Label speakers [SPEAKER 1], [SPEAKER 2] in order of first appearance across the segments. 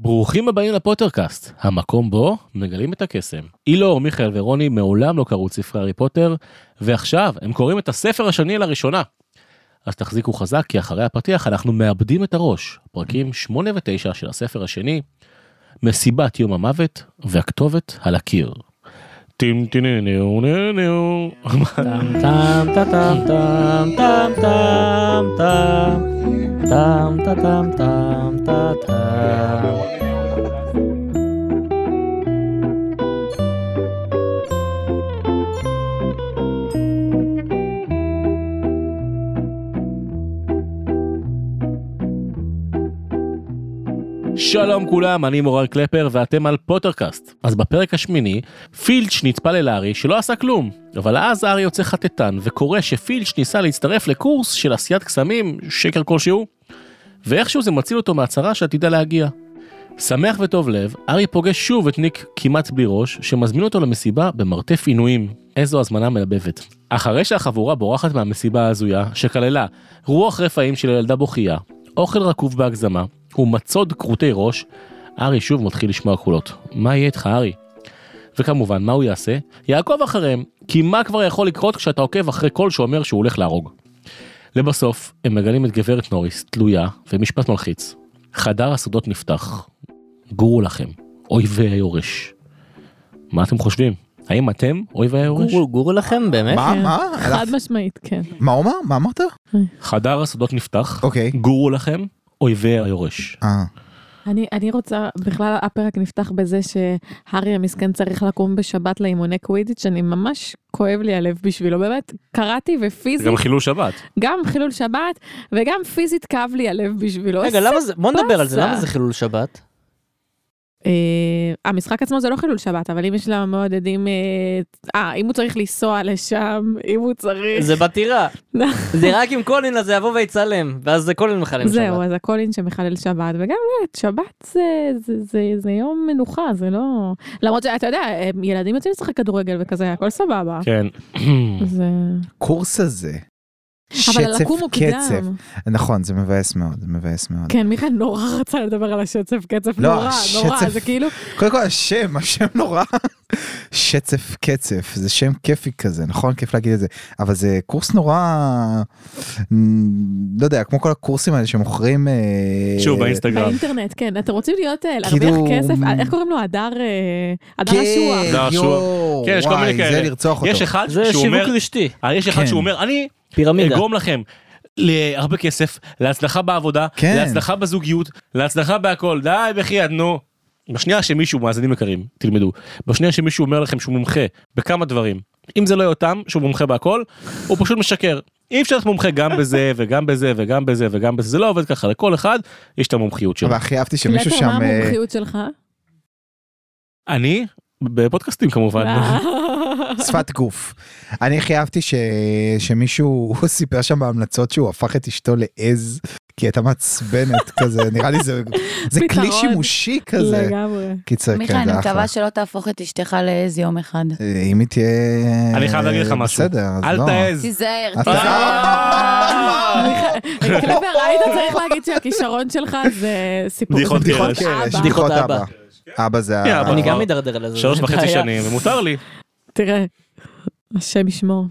[SPEAKER 1] ברוכים הבאים לפוטרקאסט, המקום בו מגלים את הקסם. אילור, מיכאל ורוני מעולם לא קראו את ספרי הארי פוטר, ועכשיו הם קוראים את הספר השני לראשונה. אז תחזיקו חזק, כי אחרי הפתיח אנחנו מאבדים את הראש. פרקים 8 ו-9 של הספר השני, מסיבת יום המוות והכתובת על הקיר. טים טינניו נניו.
[SPEAKER 2] טם טם טם טם טם טם טם טם טם טם טם טם טם
[SPEAKER 1] שלום כולם, אני מורל קלפר ואתם על פוטרקאסט. אז בפרק השמיני, פילץ' נטפל אל הארי שלא עשה כלום, אבל אז הארי יוצא חטטן וקורא שפילץ' ניסה להצטרף לקורס של עשיית קסמים, שקר כלשהו, ואיכשהו זה מציל אותו מהצהרה שעתידה להגיע. שמח וטוב לב, הארי פוגש שוב את ניק כמעט בלי ראש, שמזמין אותו למסיבה במרתף עינויים. איזו הזמנה מלבבת. אחרי שהחבורה בורחת מהמסיבה ההזויה, שכללה רוח רפאים של ילדה בוכייה, אוכל רקוב בהגזמה ומצוד כרותי ראש, הארי שוב מתחיל לשמוע קולות. מה יהיה איתך, הארי? וכמובן, מה הוא יעשה? יעקוב אחריהם, כי מה כבר יכול לקרות כשאתה עוקב אחרי קול שאומר שהוא הולך להרוג? לבסוף, הם מגלים את גברת נוריס, תלויה, ומשפט מלחיץ. חדר הסודות נפתח. גורו לכם, אויבי היורש. מה אתם חושבים? האם אתם אויבי היורש?
[SPEAKER 2] גורו גורו לכם באמת?
[SPEAKER 3] מה?
[SPEAKER 4] כן.
[SPEAKER 3] מה?
[SPEAKER 4] חד משמעית, כן.
[SPEAKER 3] מה הוא אמר? מה אמרת?
[SPEAKER 1] חדר הסודות נפתח.
[SPEAKER 3] אוקיי.
[SPEAKER 1] גורו לכם, אויבי היורש.
[SPEAKER 3] אה.
[SPEAKER 4] אני, אני רוצה, בכלל הפרק נפתח בזה שהארי המסכן צריך לקום בשבת לאימוני קווידיץ', אני ממש כואב לי הלב בשבילו, באמת, קראתי
[SPEAKER 1] זה
[SPEAKER 4] ופיזית,
[SPEAKER 1] גם חילול שבת.
[SPEAKER 4] גם חילול שבת, וגם פיזית כאב לי הלב בשבילו.
[SPEAKER 2] רגע למה זה בוא נדבר על זה
[SPEAKER 4] באסה.
[SPEAKER 2] למה זה חילול שבת?
[SPEAKER 4] אה, המשחק עצמו זה לא חילול שבת, אבל אם יש לה מעודדים, אה, אה, אם הוא צריך לנסוע לשם, אם הוא צריך...
[SPEAKER 2] זה בטירה זה רק אם קולין אז זה יבוא ויצלם ואז זה קולין מחלם שבת.
[SPEAKER 4] זהו, אז הקולין שמחלל שבת, וגם לא, יודעת, שבת זה, זה, זה, זה יום מנוחה, זה לא... למרות שאתה יודע, הם- ילדים יוצאים לשחק כדורגל וכזה, הכל סבבה.
[SPEAKER 1] כן.
[SPEAKER 3] אה,
[SPEAKER 4] זה...
[SPEAKER 3] קורס הזה.
[SPEAKER 4] אבל הלקום הוא
[SPEAKER 3] קצף.
[SPEAKER 4] קדם.
[SPEAKER 3] נכון, זה מבאס מאוד, זה מבאס מאוד.
[SPEAKER 4] כן, מיכאל נורא רצה לדבר על השצף קצף,
[SPEAKER 3] לא,
[SPEAKER 4] נורא, נורא,
[SPEAKER 3] השצף.
[SPEAKER 4] זה כאילו...
[SPEAKER 3] קודם כל השם, השם נורא. שצף קצף, זה שם כיפי כזה, נכון? כיף להגיד את זה. אבל זה קורס נורא, אמ, לא יודע, כמו כל הקורסים האלה שמוכרים... אה,
[SPEAKER 1] שוב באינסטגרם.
[SPEAKER 4] באינטרנט, כן, אתם רוצים להיות, אה,
[SPEAKER 3] כאילו-
[SPEAKER 4] להרוויח כסף, אה, איך קוראים לו? הדר... אה, הדר
[SPEAKER 3] כן,
[SPEAKER 4] אשוח.
[SPEAKER 1] דרשוח.
[SPEAKER 3] יואו,
[SPEAKER 1] כן, יש כל מיני
[SPEAKER 3] וואי, זה
[SPEAKER 1] כאלה.
[SPEAKER 3] לרצוח
[SPEAKER 1] יש
[SPEAKER 3] אותו.
[SPEAKER 1] אחד
[SPEAKER 2] זה
[SPEAKER 1] שהוא
[SPEAKER 2] שיווק
[SPEAKER 1] אומר,
[SPEAKER 2] רשתי
[SPEAKER 1] אה, יש אחד
[SPEAKER 3] כן.
[SPEAKER 1] שהוא אומר, אני
[SPEAKER 2] פירמידה.
[SPEAKER 1] אגרום לכם להרבה כסף, להצלחה בעבודה,
[SPEAKER 3] כן.
[SPEAKER 1] להצלחה בזוגיות, להצלחה בהכל, די בחייאת נו. בשנייה שמישהו, מאזינים יקרים, תלמדו, בשנייה שמישהו אומר לכם שהוא מומחה בכמה דברים, אם זה לא יותם, שהוא מומחה בהכל, הוא פשוט משקר. אי אפשר להיות מומחה גם בזה וגם בזה וגם בזה וגם בזה, זה לא עובד ככה, לכל אחד יש את המומחיות שלו.
[SPEAKER 3] אבל הכי אהבתי שמישהו
[SPEAKER 4] קלטר,
[SPEAKER 3] שם...
[SPEAKER 4] מה
[SPEAKER 3] אה,
[SPEAKER 4] המומחיות שלך?
[SPEAKER 1] אני? בפודקאסטים כמובן.
[SPEAKER 3] שפת גוף. אני הכי אהבתי ש... שמישהו הוא סיפר שם בהמלצות שהוא הפך את אשתו לעז כי הייתה מעצבנת כזה נראה לי זה זה
[SPEAKER 4] פתרון.
[SPEAKER 3] כלי שימושי כזה.
[SPEAKER 4] לגמרי.
[SPEAKER 3] קיצר
[SPEAKER 5] מיכאל,
[SPEAKER 3] כן
[SPEAKER 5] אני
[SPEAKER 3] זה אחלה.
[SPEAKER 5] מקווה שלא תהפוך את אשתך לאיז יום אחד.
[SPEAKER 3] אה, אם היא תהיה
[SPEAKER 1] אני חייב להגיד לך משהו.
[SPEAKER 3] בסדר אז
[SPEAKER 1] אל
[SPEAKER 3] לא.
[SPEAKER 1] תעז.
[SPEAKER 5] תיזהר,
[SPEAKER 3] אז
[SPEAKER 5] תיזהר.
[SPEAKER 1] אה!
[SPEAKER 4] מיכאל, קלבר, היית צריך להגיד שהכישרון שלך זה סיפור.
[SPEAKER 1] בדיחות
[SPEAKER 3] בדיחות
[SPEAKER 1] קרש.
[SPEAKER 3] קרש,
[SPEAKER 4] אבא.
[SPEAKER 3] בדיחות
[SPEAKER 2] בדיחות
[SPEAKER 3] אבא. אבא זה
[SPEAKER 1] כן,
[SPEAKER 3] ה-
[SPEAKER 1] אבל
[SPEAKER 2] אני
[SPEAKER 1] כבר-
[SPEAKER 2] גם מידרדר על זה.
[SPEAKER 1] שלוש
[SPEAKER 2] זה
[SPEAKER 1] וחצי
[SPEAKER 2] בעיה.
[SPEAKER 1] שנים, מותר לי.
[SPEAKER 4] תראה, השם ישמור.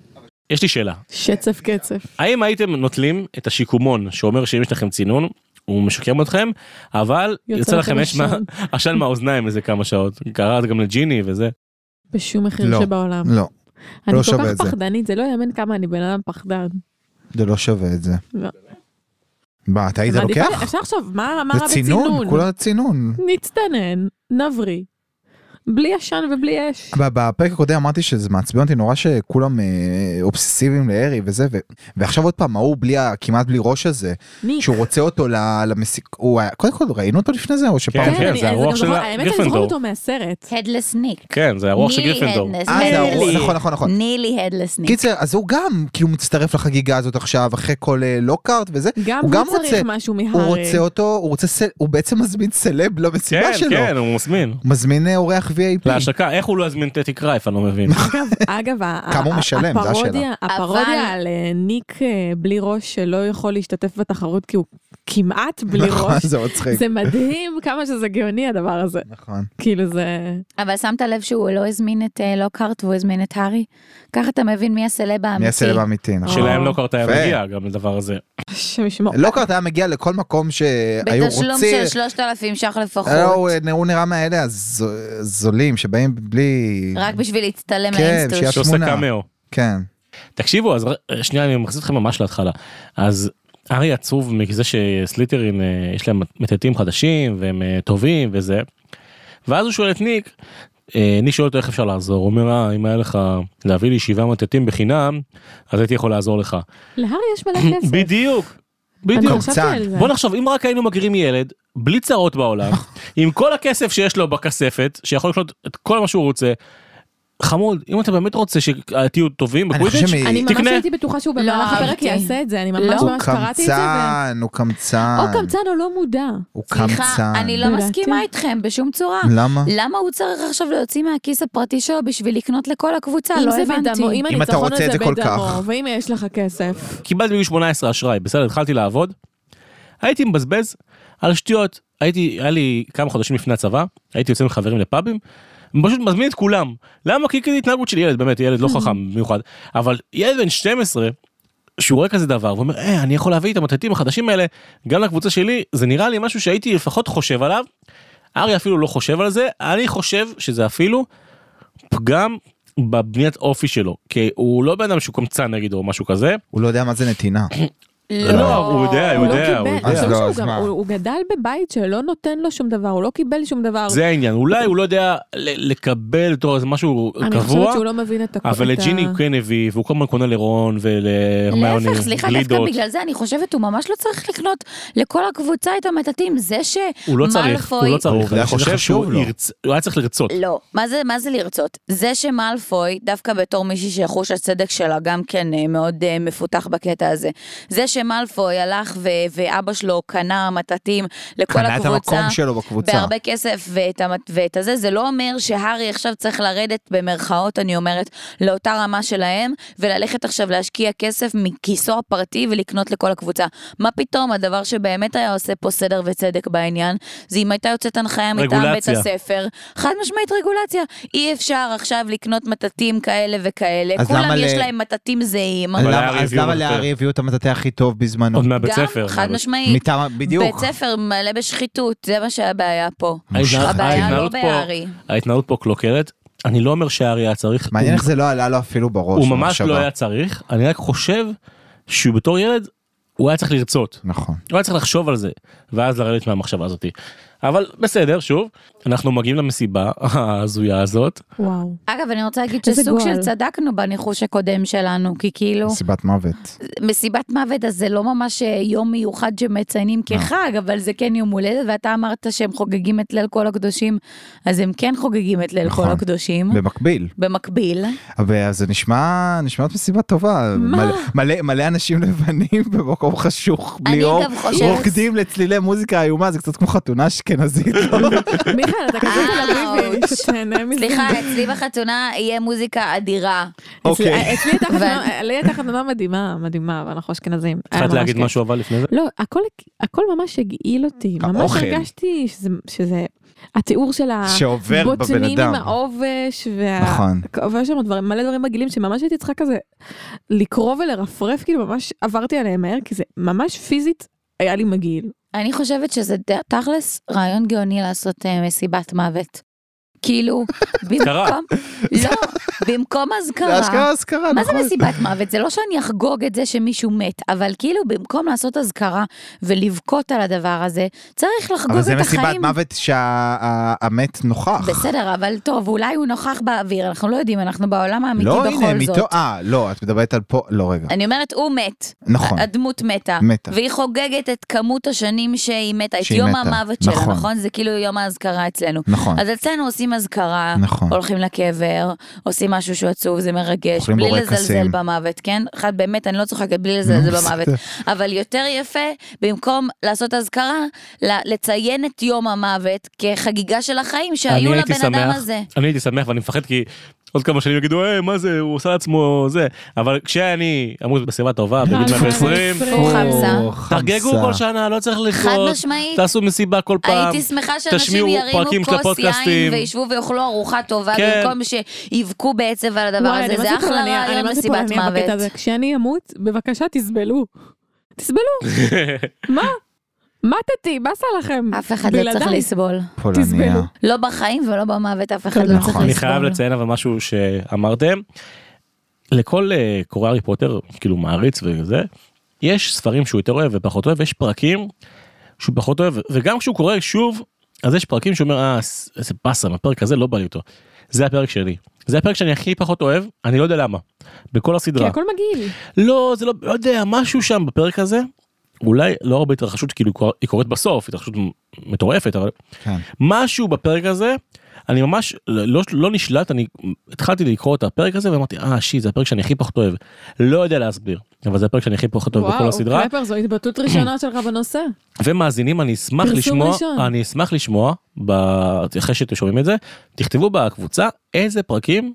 [SPEAKER 1] יש לי שאלה.
[SPEAKER 4] שצף קצף.
[SPEAKER 1] האם הייתם נוטלים את השיקומון שאומר שאם יש לכם צינון, הוא משקם אתכם, אבל יוצא לכם אש מה-
[SPEAKER 4] עשן.
[SPEAKER 1] עשן מהאוזניים איזה כמה שעות. קראת גם לג'יני וזה.
[SPEAKER 4] בשום מחיר
[SPEAKER 3] לא.
[SPEAKER 4] שבעולם.
[SPEAKER 3] לא
[SPEAKER 4] אני
[SPEAKER 3] לא
[SPEAKER 4] כל
[SPEAKER 3] שווה את
[SPEAKER 4] כך
[SPEAKER 3] זה.
[SPEAKER 4] פחדנית, זה לא יאמן כמה אני בן אדם פחדן.
[SPEAKER 3] זה לא שווה את זה.
[SPEAKER 4] לא.
[SPEAKER 3] מה אתה היית
[SPEAKER 4] מעדיפה-
[SPEAKER 3] אה, לוקח?
[SPEAKER 4] אפשר לחשוב, מה מה רע
[SPEAKER 3] זה צינון,
[SPEAKER 4] בצינון?
[SPEAKER 3] כולה צינון.
[SPEAKER 4] נצטנן, נבריא. בלי עשן ובלי אש.
[SPEAKER 3] ב- בפרק הקודם אמרתי שזה מעצבן אותי נורא שכולם אה, אובססיביים להרי וזה ו- ועכשיו עוד פעם ההוא בלי ה- כמעט בלי ראש הזה
[SPEAKER 4] ניק.
[SPEAKER 3] שהוא רוצה אותו ל- למסיק הוא היה קודם כל ראינו אותו לפני זה או שפעם
[SPEAKER 1] כן,
[SPEAKER 4] כן, אני-
[SPEAKER 1] זה
[SPEAKER 4] אני
[SPEAKER 1] הרוח
[SPEAKER 4] גם
[SPEAKER 1] של
[SPEAKER 4] זוכרת- האמת שאני זוכרת
[SPEAKER 1] גריפינדור.
[SPEAKER 4] אותו מהסרט.
[SPEAKER 5] הדלס ניק.
[SPEAKER 1] כן, זה הרוח של גריפינדור.
[SPEAKER 5] הדלס
[SPEAKER 3] אה, זה הרוח, נכון נכון נכון
[SPEAKER 5] נילי הדלס ניק.
[SPEAKER 3] קיצר אז הוא גם כאילו מצטרף לחגיגה הזאת עכשיו אחרי כל אה, לוקארט וזה
[SPEAKER 4] גם
[SPEAKER 3] הוא
[SPEAKER 4] הוא
[SPEAKER 3] גם
[SPEAKER 4] צריך
[SPEAKER 3] רוצה-
[SPEAKER 4] משהו
[SPEAKER 3] הוא
[SPEAKER 4] מהארי.
[SPEAKER 3] רוצה אותו הוא רוצה סל- הוא בעצם מזמין סלב
[SPEAKER 1] כן,
[SPEAKER 3] למסיבה שלו
[SPEAKER 1] כן, הוא מזמין.
[SPEAKER 3] מזמין אה, אורח VIP
[SPEAKER 1] להשקה, איך הוא לא יזמין טטי קרייף, אני לא מבין.
[SPEAKER 4] אגב, אגב, ה-
[SPEAKER 3] כמה הוא
[SPEAKER 4] ה-
[SPEAKER 3] משלם? זו השאלה.
[SPEAKER 4] הפרודיה- הפרודיה
[SPEAKER 5] אבל-
[SPEAKER 4] על אה, ניק אה, בלי ראש שלא יכול להשתתף בתחרות כי הוא כמעט בלי
[SPEAKER 3] נכון,
[SPEAKER 4] ראש.
[SPEAKER 3] זה מצחיק.
[SPEAKER 4] זה מדהים כמה שזה גאוני הדבר הזה.
[SPEAKER 3] נכון.
[SPEAKER 4] כאילו זה...
[SPEAKER 5] אבל שמת לב שהוא לא הזמין את אה, לוקהרט והוא הזמין את הארי? ככה אתה מבין מי הסלב האמיתי.
[SPEAKER 3] מי הסלב האמיתי, נכון.
[SPEAKER 1] שלהם לא קרתה
[SPEAKER 3] יפה.
[SPEAKER 1] מגיע גם לדבר הזה.
[SPEAKER 4] השם ישמור.
[SPEAKER 3] לוקארט היה מגיע לכל מקום שהיו
[SPEAKER 5] בתשלום
[SPEAKER 3] רוצים.
[SPEAKER 5] של 3,000 ש"ח לפחות.
[SPEAKER 3] לא, הוא- הוא נראה מאלה הזולים שבאים בלי...
[SPEAKER 5] רק אה, בשביל להצטלם
[SPEAKER 3] כן,
[SPEAKER 5] לאינסטוש.
[SPEAKER 3] שיעשו-
[SPEAKER 1] שעושה
[SPEAKER 3] התמונה.
[SPEAKER 1] קמאו.
[SPEAKER 3] כן.
[SPEAKER 1] תקשיבו, אז ר- אה, שנייה, אני מחזיר אתכם ממש להתחלה. אז ארי עצוב מזה שסליטרין, אה, יש להם מטאטאים חדשים, והם אה, טובים וזה. ואז הוא שואל את ניק, אה, ניק שואל אותו איך אפשר לעזור, הוא אומר, אה, אם היה לך להביא לי שבעה מטאטאים בחינם, אז הייתי יכול לעזור לך.
[SPEAKER 4] להארי יש מלא כסף.
[SPEAKER 1] בדיוק,
[SPEAKER 4] אני
[SPEAKER 1] בדיוק.
[SPEAKER 4] חשבתי על זה.
[SPEAKER 1] בוא נחשוב, אם רק היינו מגרים ילד, בלי צרות בעולם, עם כל הכסף שיש לו בכספת, שיכול לקנות את כל מה שהוא רוצה, חמוד, אם אתה באמת רוצה שתהיו טובים
[SPEAKER 3] אני
[SPEAKER 1] בקווידיץ',
[SPEAKER 3] חושב
[SPEAKER 4] אני ממש
[SPEAKER 1] תקנה.
[SPEAKER 4] הייתי בטוחה שהוא במהלך
[SPEAKER 5] אהבתי.
[SPEAKER 4] הפרק יעשה את זה, אני ממש
[SPEAKER 5] לא.
[SPEAKER 3] הוא
[SPEAKER 4] ממש קראתי את זה. ו-
[SPEAKER 3] קמצן, הוא קמצן.
[SPEAKER 4] או קמצן או לא מודע.
[SPEAKER 3] הוא
[SPEAKER 5] סליחה,
[SPEAKER 3] קמצן.
[SPEAKER 5] אני לא
[SPEAKER 4] לדעתי.
[SPEAKER 5] מסכימה איתכם בשום צורה.
[SPEAKER 3] למה?
[SPEAKER 5] למה הוא צריך עכשיו להוציא מהכיס הפרטי שלו בשביל לקנות לכל הקבוצה?
[SPEAKER 4] אם
[SPEAKER 5] לא
[SPEAKER 4] זה בדמו,
[SPEAKER 5] הבנתי.
[SPEAKER 4] אם
[SPEAKER 3] אם אתה
[SPEAKER 4] הניצחון
[SPEAKER 3] רוצה את זה
[SPEAKER 4] הזה
[SPEAKER 3] כל
[SPEAKER 4] בדמו,
[SPEAKER 3] כך.
[SPEAKER 4] ואם יש לך כסף.
[SPEAKER 1] קיבלתי בגיל 18 אשראי, בסדר, התחלתי לעבוד. הייתי מבזבז על שטויות, הייתי, היה לי כמה חודשים לפני הצבא, הייתי יוצא עם חברים לפאבים, פשוט מזמין את כולם. למה? כי כזה התנהגות של ילד, באמת, ילד לא חכם במיוחד, אבל ילד בן 12, שהוא רואה כזה דבר, ואומר, אה, אני יכול להביא את המטטים החדשים האלה גם לקבוצה שלי, זה נראה לי משהו שהייתי לפחות חושב עליו. ארי אפילו לא חושב על זה, אני חושב שזה אפילו פגם בבניית אופי שלו, כי הוא לא בן אדם שהוא קמצן נגיד או משהו כזה,
[SPEAKER 3] הוא לא יודע מה זה נתינה.
[SPEAKER 1] לא, הוא יודע,
[SPEAKER 4] הוא
[SPEAKER 1] הוא
[SPEAKER 4] לא
[SPEAKER 1] יודע, הוא
[SPEAKER 4] קיבל,
[SPEAKER 1] יודע.
[SPEAKER 4] תחשוב
[SPEAKER 3] אז לא,
[SPEAKER 4] שהוא
[SPEAKER 3] אז
[SPEAKER 4] גם-
[SPEAKER 3] מה?
[SPEAKER 4] הוא- הוא גדל בבית שלא נותן לו שום דבר, הוא לא קיבל שום דבר.
[SPEAKER 1] זה העניין, אולי הוא לא יודע ל- לקבל אותו איזה משהו
[SPEAKER 4] אני חושבת
[SPEAKER 1] קבוע,
[SPEAKER 4] שהוא לא מבין את הכ-
[SPEAKER 1] אבל
[SPEAKER 4] את
[SPEAKER 1] את ג'יני הוא כן הביא, והוא כל הזמן קונה לרון ולהרמיוני
[SPEAKER 5] להפך, סליחה, דווקא
[SPEAKER 1] גלידות.
[SPEAKER 5] בגלל זה אני חושבת, הוא ממש לא צריך לקנות לכל הקבוצה את המטאטים. זה ש...
[SPEAKER 1] הוא לא צריך, הוא
[SPEAKER 5] מאלפוי-
[SPEAKER 1] לא צריך,
[SPEAKER 3] עובדה
[SPEAKER 1] אני
[SPEAKER 3] שזה
[SPEAKER 1] חושב
[SPEAKER 3] חשוב
[SPEAKER 1] שהוא
[SPEAKER 3] לו.
[SPEAKER 1] ירצ- הוא היה צריך לרצות.
[SPEAKER 5] לא, מה זה, מה זה לרצות? זה שמאלפוי, דווקא בתור מישהי שחוש הצדק שלה גם כן אה, מאוד אה, מפותח בקטע הזה, זה שמאלפוי הלך ו- ואבא שלו קנה מטטים לכל
[SPEAKER 3] קנה את
[SPEAKER 5] הקבוצה,
[SPEAKER 3] המקום שלו בקבוצה.
[SPEAKER 5] בהרבה כסף ואת, המת- ואת הזה, זה לא אומר שהארי עכשיו צריך לרדת במרכאות, אני אומרת, לאותה רמה שלהם, וללכת עכשיו להשקיע כסף מכיסו הפרטי ולקנות לכל הקבוצה. מה פתאום, הדבר שבאמת היה עושה פה סדר וצדק בעניין, זה אם הייתה יוצאת הנחיה מטעם בית
[SPEAKER 1] רגולציה.
[SPEAKER 5] הספר, חד משמעית רגולציה. אי אפשר עכשיו לקנות מטטים כאלה וכאלה,
[SPEAKER 3] אז
[SPEAKER 5] כולם
[SPEAKER 3] למה ל-
[SPEAKER 5] יש להם מטטים זהים.
[SPEAKER 1] אבל
[SPEAKER 3] למה-
[SPEAKER 1] לארי
[SPEAKER 3] אז
[SPEAKER 1] הביאו
[SPEAKER 3] למה
[SPEAKER 1] מטאטא.
[SPEAKER 3] לארי הביאו את המטאטא הכי טוב בזמנו?
[SPEAKER 1] עוד מהבית ספר.
[SPEAKER 5] גם, חד
[SPEAKER 1] אבל-
[SPEAKER 5] משמעית.
[SPEAKER 3] מטעם,
[SPEAKER 5] בית
[SPEAKER 3] בדיוק.
[SPEAKER 5] ספר מלא בשחיתות, זה מה שהבעיה פה.
[SPEAKER 1] ההתנהלות-
[SPEAKER 5] הבעיה לא
[SPEAKER 1] אה, ההתנהלות פה-
[SPEAKER 5] בהארי.
[SPEAKER 1] ההתנהלות פה קלוקלת, אני לא אומר שהארי היה צריך,
[SPEAKER 3] מעניין
[SPEAKER 1] הוא-
[SPEAKER 3] איך זה לא עלה לו אפילו בראש.
[SPEAKER 1] הוא ממש לא
[SPEAKER 3] במחשבה.
[SPEAKER 1] היה צריך, אני רק חושב שהוא בתור ילד, הוא היה צריך לרצות.
[SPEAKER 3] נכון.
[SPEAKER 1] לא היה צריך לחשוב על זה, ואז לרדת מהמחשבה הזאת. אבל בסדר, שוב, אנחנו מגיעים למסיבה ההזויה הזאת.
[SPEAKER 4] וואו.
[SPEAKER 5] אגב, אני רוצה להגיד
[SPEAKER 4] איזה
[SPEAKER 5] שסוג
[SPEAKER 4] גועל.
[SPEAKER 5] של צדקנו בניחוש הקודם שלנו, כי כאילו,
[SPEAKER 3] סיבת מוות.
[SPEAKER 5] מסיבת מוות אז זה לא ממש אה, יום מיוחד שמציינים כחג, אבל זה כן יום הולדת, ואתה אמרת שהם חוגגים את ליל כל הקדושים, אז הם כן חוגגים את ליל כל
[SPEAKER 3] נכון.
[SPEAKER 5] הקדושים.
[SPEAKER 3] במקביל.
[SPEAKER 5] במקביל,
[SPEAKER 3] אבל זה נשמע, נשמעת מסיבה טובה. מלא, מלא, מלא אנשים לבנים במקום חשוך, בלי
[SPEAKER 5] אני
[SPEAKER 3] אור.
[SPEAKER 5] גם חושבת-
[SPEAKER 3] רוקדים לצלילי מוזיקה איומה, זה קצת כמו חתונה אשכנזית. לא?
[SPEAKER 4] מיכאל, אתה כזה תל אביבי,
[SPEAKER 5] אאוץ'.
[SPEAKER 4] שתהנה מזה.
[SPEAKER 5] סליחה, אצלי בחתונה יהיה מוזיקה אדירה.
[SPEAKER 3] אוקיי.
[SPEAKER 4] אצלי הייתה חתונה-
[SPEAKER 5] ואני-
[SPEAKER 4] לי הייתה חתונה מדהימה, מדהימה, אבל אנחנו אשכנזים. היה
[SPEAKER 1] התחלת
[SPEAKER 4] ממש
[SPEAKER 1] להגיד
[SPEAKER 4] כיף.
[SPEAKER 1] משהו אה, אבל לפני זה?
[SPEAKER 4] לא, הכל, הכל ממש הגעיל אותי. ממש
[SPEAKER 3] האוכל.
[SPEAKER 4] הרגשתי שזה, שזה התיאור של
[SPEAKER 3] שעובר בבן
[SPEAKER 4] הבוטנים עם
[SPEAKER 3] אדם.
[SPEAKER 4] העובש, וה...
[SPEAKER 3] נכון.
[SPEAKER 4] ויש שם דברים, מלא דברים מגעילים, שממש הייתי צריכה כזה לקרוא ולרפרף, כאילו ממש עברתי עליהם מהר, כי זה ממש פיזית היה לי מגעיל.
[SPEAKER 5] אני חושבת שזה ד- תכלס רעיון גאוני לעשות אה, מסיבת מוות. כאילו, במקום, לא, במקום
[SPEAKER 3] זה
[SPEAKER 5] אזכרה,
[SPEAKER 3] אשכרה אזכרה,
[SPEAKER 5] מה זה
[SPEAKER 3] נכון.
[SPEAKER 5] מסיבת מוות? זה לא שאני אחגוג את זה שמישהו מת, אבל כאילו במקום לעשות אזכרה ולבכות על הדבר הזה, צריך לחגוג
[SPEAKER 3] אבל
[SPEAKER 5] את
[SPEAKER 3] זה
[SPEAKER 5] החיים.
[SPEAKER 3] מסיבת מוות שהמת נוכח.
[SPEAKER 5] בסדר, אבל טוב, אולי הוא נוכח באוויר, אנחנו לא יודעים, אנחנו בעולם האמיתי
[SPEAKER 3] לא,
[SPEAKER 5] בכל
[SPEAKER 3] הנה, הם
[SPEAKER 5] זאת. אה,
[SPEAKER 3] איתו, אה, לא, את מדברת על פה, לא, רגע.
[SPEAKER 5] אני אומרת, הוא מת.
[SPEAKER 3] נכון.
[SPEAKER 5] הדמות מתה.
[SPEAKER 3] מתה.
[SPEAKER 5] והיא חוגגת את כמות השנים שהיא מתה, את
[SPEAKER 3] שהיא
[SPEAKER 5] יום
[SPEAKER 3] מתה,
[SPEAKER 5] המוות שלה,
[SPEAKER 3] נכון.
[SPEAKER 5] נכון? זה כאילו יום האזכרה אצלנו.
[SPEAKER 3] נכון.
[SPEAKER 5] אז אצלנו עושים אזכרה,
[SPEAKER 3] נכון.
[SPEAKER 5] הולכים לקבר, עושים משהו שהוא עצוב, זה מרגש,
[SPEAKER 3] אוכלים
[SPEAKER 5] בלי
[SPEAKER 3] בורקסים.
[SPEAKER 5] לזלזל במוות, כן? אחד, באמת, אני לא צוחקת, בלי לזלזל
[SPEAKER 3] בסדר.
[SPEAKER 5] במוות. אבל יותר יפה, במקום לעשות אזכרה, ל- לציין את יום המוות כחגיגה של החיים
[SPEAKER 1] אני
[SPEAKER 5] שהיו
[SPEAKER 1] הייתי
[SPEAKER 5] לבן אדם
[SPEAKER 1] שמח-
[SPEAKER 5] הזה.
[SPEAKER 1] אני הייתי שמח ואני מפחד כי עוד כמה שנים יגידו, אה, מה זה, הוא עושה לעצמו זה. אבל כשאני אמור בשיבה
[SPEAKER 5] אה,
[SPEAKER 1] טובה, בגיל 120,
[SPEAKER 5] הוא חמסה.
[SPEAKER 3] או,
[SPEAKER 1] תחגגו
[SPEAKER 3] חמסה.
[SPEAKER 1] כל שנה, לא צריך
[SPEAKER 5] חד
[SPEAKER 1] לחיות,
[SPEAKER 5] משמעית.
[SPEAKER 1] תעשו מסיבה כל פעם.
[SPEAKER 5] הייתי שמחה שאנשים
[SPEAKER 1] תשמיעו פרקים
[SPEAKER 5] ירימו
[SPEAKER 1] של
[SPEAKER 5] כוס
[SPEAKER 1] הפודקאסטים.
[SPEAKER 5] יין וישבו ויאכלו ארוחה טובה
[SPEAKER 1] כן.
[SPEAKER 5] במקום שיבכו בעצב על הדבר
[SPEAKER 4] וואי,
[SPEAKER 5] הזה.
[SPEAKER 4] אני
[SPEAKER 5] זה
[SPEAKER 4] מה זה
[SPEAKER 5] אחלה
[SPEAKER 4] פולניה, אני
[SPEAKER 5] רעיון
[SPEAKER 4] מה זה
[SPEAKER 5] מסיבת
[SPEAKER 4] פולניה בקטע הזה.
[SPEAKER 5] מוות.
[SPEAKER 4] כשאני אמות, בבקשה תסבלו. תסבלו. מה? מתתי, מה עשה לכם?
[SPEAKER 5] אף אחד לא צריך
[SPEAKER 4] בלעדיי.
[SPEAKER 5] לסבול.
[SPEAKER 3] פולניה.
[SPEAKER 4] תסבלו.
[SPEAKER 5] לא בחיים ולא במוות, אף אחד
[SPEAKER 4] כן,
[SPEAKER 5] לא
[SPEAKER 3] נכון.
[SPEAKER 5] צריך לסבול.
[SPEAKER 3] אני
[SPEAKER 1] אני חייב לציין אבל משהו שאמרתם. לכל אה, קורא הארי פוטר, כאילו מעריץ וזה, יש ספרים שהוא יותר אוהב ופחות אוהב, ויש פרקים שהוא פחות אוהב, וגם כשהוא קורא שוב, אז יש פרקים שהוא אומר, אה, ס- איזה באסה, הפרק הזה לא בא לי אותו. זה הפרק שלי. זה הפרק שאני הכי פחות אוהב, אני לא יודע למה. בכל
[SPEAKER 4] כי
[SPEAKER 1] הסדרה.
[SPEAKER 4] הכל מגעיל.
[SPEAKER 1] לא, זה לא, לא יודע, משהו שם בפרק הזה, אולי לא הרבה התרחשות, כאילו היא קורית בסוף, התרחשות מטורפת, אבל
[SPEAKER 3] כן.
[SPEAKER 1] משהו בפרק הזה, אני ממש לא, לא נשלט, אני התחלתי לקרוא את הפרק הזה ואמרתי, אה שיט, זה הפרק שאני הכי פחות אוהב. לא יודע להסביר, אבל זה הפרק שאני הכי פחות אוהב לא, בכל
[SPEAKER 4] וואו, אוקיי.
[SPEAKER 1] הסדרה.
[SPEAKER 4] קלפר, זו התבטאות ראשונה שלך בנושא.
[SPEAKER 1] ומאזינים, אני אשמח
[SPEAKER 4] פרסום
[SPEAKER 1] לשמוע,
[SPEAKER 4] ראשון.
[SPEAKER 1] אני אשמח לשמוע, ב... אחרי שאתם שומעים את זה, תכתבו בקבוצה איזה פרקים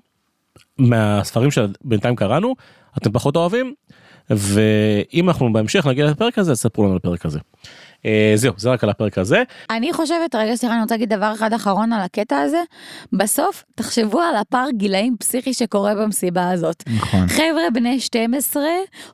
[SPEAKER 1] מהספרים שבינתיים קראנו, אתם פחות אוהבים, ואם אנחנו בהמשך נגיע לפרק הזה, אז ספרו לנו על הפרק הזה. אה, זהו, זה רק על הפרק הזה.
[SPEAKER 5] אני חושבת, רגע סליחה, אני רוצה להגיד דבר אחד אחרון על הקטע הזה. בסוף, תחשבו על הפער גילאים פסיכי שקורה במסיבה הזאת.
[SPEAKER 3] נכון.
[SPEAKER 5] חבר'ה בני 12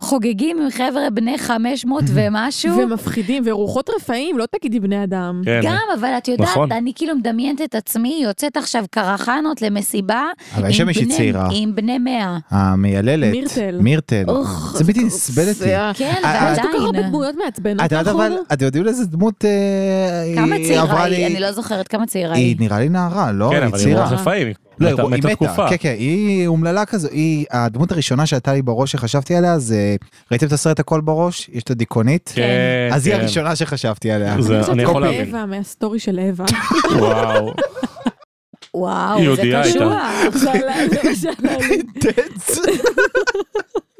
[SPEAKER 5] חוגגים עם חבר'ה בני 500 ומשהו.
[SPEAKER 4] ומפחידים, ורוחות רפאים, לא תגידי בני אדם.
[SPEAKER 1] כן,
[SPEAKER 5] גם, אבל את יודעת,
[SPEAKER 1] נכון.
[SPEAKER 5] אני כאילו מדמיינת את עצמי, יוצאת עכשיו קרחנות למסיבה
[SPEAKER 3] אבל יש
[SPEAKER 5] עם
[SPEAKER 3] שם מישהי
[SPEAKER 5] בני-
[SPEAKER 3] צעירה.
[SPEAKER 5] עם בני 100.
[SPEAKER 3] המייללת.
[SPEAKER 4] מירטל.
[SPEAKER 3] מירטל.
[SPEAKER 5] אוח,
[SPEAKER 3] זה בלתי נסבל אותי.
[SPEAKER 5] כן,
[SPEAKER 3] אה,
[SPEAKER 5] אבל
[SPEAKER 3] אה,
[SPEAKER 4] יש כל כך הרבה
[SPEAKER 5] עדיין.
[SPEAKER 4] דמויות
[SPEAKER 3] את
[SPEAKER 4] מעצבנות נכון?
[SPEAKER 3] יודעת אבל,
[SPEAKER 4] לאחרונה.
[SPEAKER 3] את יודעים איזה דמות אה,
[SPEAKER 5] נכון. כמה
[SPEAKER 3] היא
[SPEAKER 5] צעירה
[SPEAKER 3] עברה
[SPEAKER 5] היא?
[SPEAKER 3] לי-
[SPEAKER 5] אני לא זוכרת כמה צעירה
[SPEAKER 3] היא
[SPEAKER 5] היא.
[SPEAKER 3] נראה לי נערה, לא?
[SPEAKER 1] כן,
[SPEAKER 3] היא
[SPEAKER 1] אבל היא
[SPEAKER 3] צעירה.
[SPEAKER 1] רוח רפאים,
[SPEAKER 3] לא,
[SPEAKER 1] היא מתה תקופה.
[SPEAKER 3] כן, כן, היא אומללה כזו, היא, הדמות הראשונה שהייתה לי בראש שחשבתי עליה זה, ראיתם את הסרט הכל בראש? יש את הדיקונית?
[SPEAKER 1] כן,
[SPEAKER 3] אז היא
[SPEAKER 1] כן.
[SPEAKER 3] הראשונה שחשבתי עליה.
[SPEAKER 1] זה-
[SPEAKER 4] חושבת
[SPEAKER 1] אני יכול
[SPEAKER 4] שזה
[SPEAKER 1] להבין.
[SPEAKER 4] אווה, מהסטורי של אווה.
[SPEAKER 1] וואו. היא
[SPEAKER 5] וואו, זה
[SPEAKER 1] הודיעה
[SPEAKER 5] קשוח.
[SPEAKER 1] איתה.
[SPEAKER 4] זה עלה- זה מה שעלה לי.
[SPEAKER 3] טץ.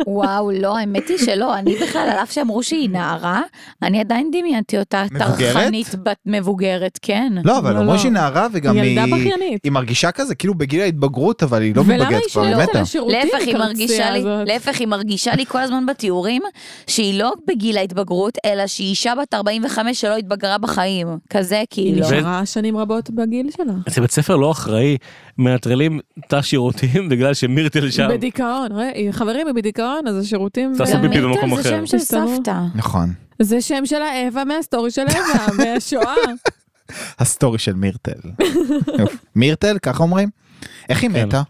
[SPEAKER 5] וואו, לא, האמת היא שלא. אני בכלל, על אף שאמרו שהיא נערה, אני עדיין דמיינתי אותה
[SPEAKER 3] מבוגרת?
[SPEAKER 5] טרחנית בת מבוגרת, כן.
[SPEAKER 3] לא, אבל
[SPEAKER 4] לא,
[SPEAKER 3] אומרים
[SPEAKER 4] לא.
[SPEAKER 3] שהיא נערה וגם
[SPEAKER 4] היא
[SPEAKER 3] היא...
[SPEAKER 4] ילדה בכיינית.
[SPEAKER 3] היא מרגישה כזה, כאילו בגיל ההתבגרות, אבל היא לא
[SPEAKER 4] ולמה
[SPEAKER 3] מתבגרת
[SPEAKER 4] היא
[SPEAKER 3] כבר, היא
[SPEAKER 4] שואלת
[SPEAKER 3] מתה.
[SPEAKER 4] על השירותים,
[SPEAKER 5] להפך, היא מרגישה לי,
[SPEAKER 4] הזאת?
[SPEAKER 5] להפך, היא מרגישה לי כל הזמן בתיאורים שהיא לא בגיל ההתבגרות, אלא שהיא אישה בת 45 שלא התבגרה בחיים. כזה,
[SPEAKER 4] היא
[SPEAKER 1] לא.
[SPEAKER 5] כאילו.
[SPEAKER 4] נשארה שנים רבות בגיל שלה.
[SPEAKER 1] זה בית ספר לא אחראי, מנטרלים תא שירותים בגלל שמירטל שם.
[SPEAKER 4] בדיכאון, ראה, חברים, היא בדיכאון, אז השירותים...
[SPEAKER 1] תעשה
[SPEAKER 4] זה-
[SPEAKER 1] ביפי
[SPEAKER 5] מיטל
[SPEAKER 1] לא, במקום
[SPEAKER 5] כן, זה
[SPEAKER 1] אחר.
[SPEAKER 5] שם של
[SPEAKER 4] בסדר.
[SPEAKER 5] סבתא.
[SPEAKER 3] נכון.
[SPEAKER 4] זה שם של האווה מהסטורי של אווה, מהשואה.
[SPEAKER 3] הסטורי של מירטל. יופי. מירטל, ככה אומרים? איך היא
[SPEAKER 1] כן.
[SPEAKER 3] מתה?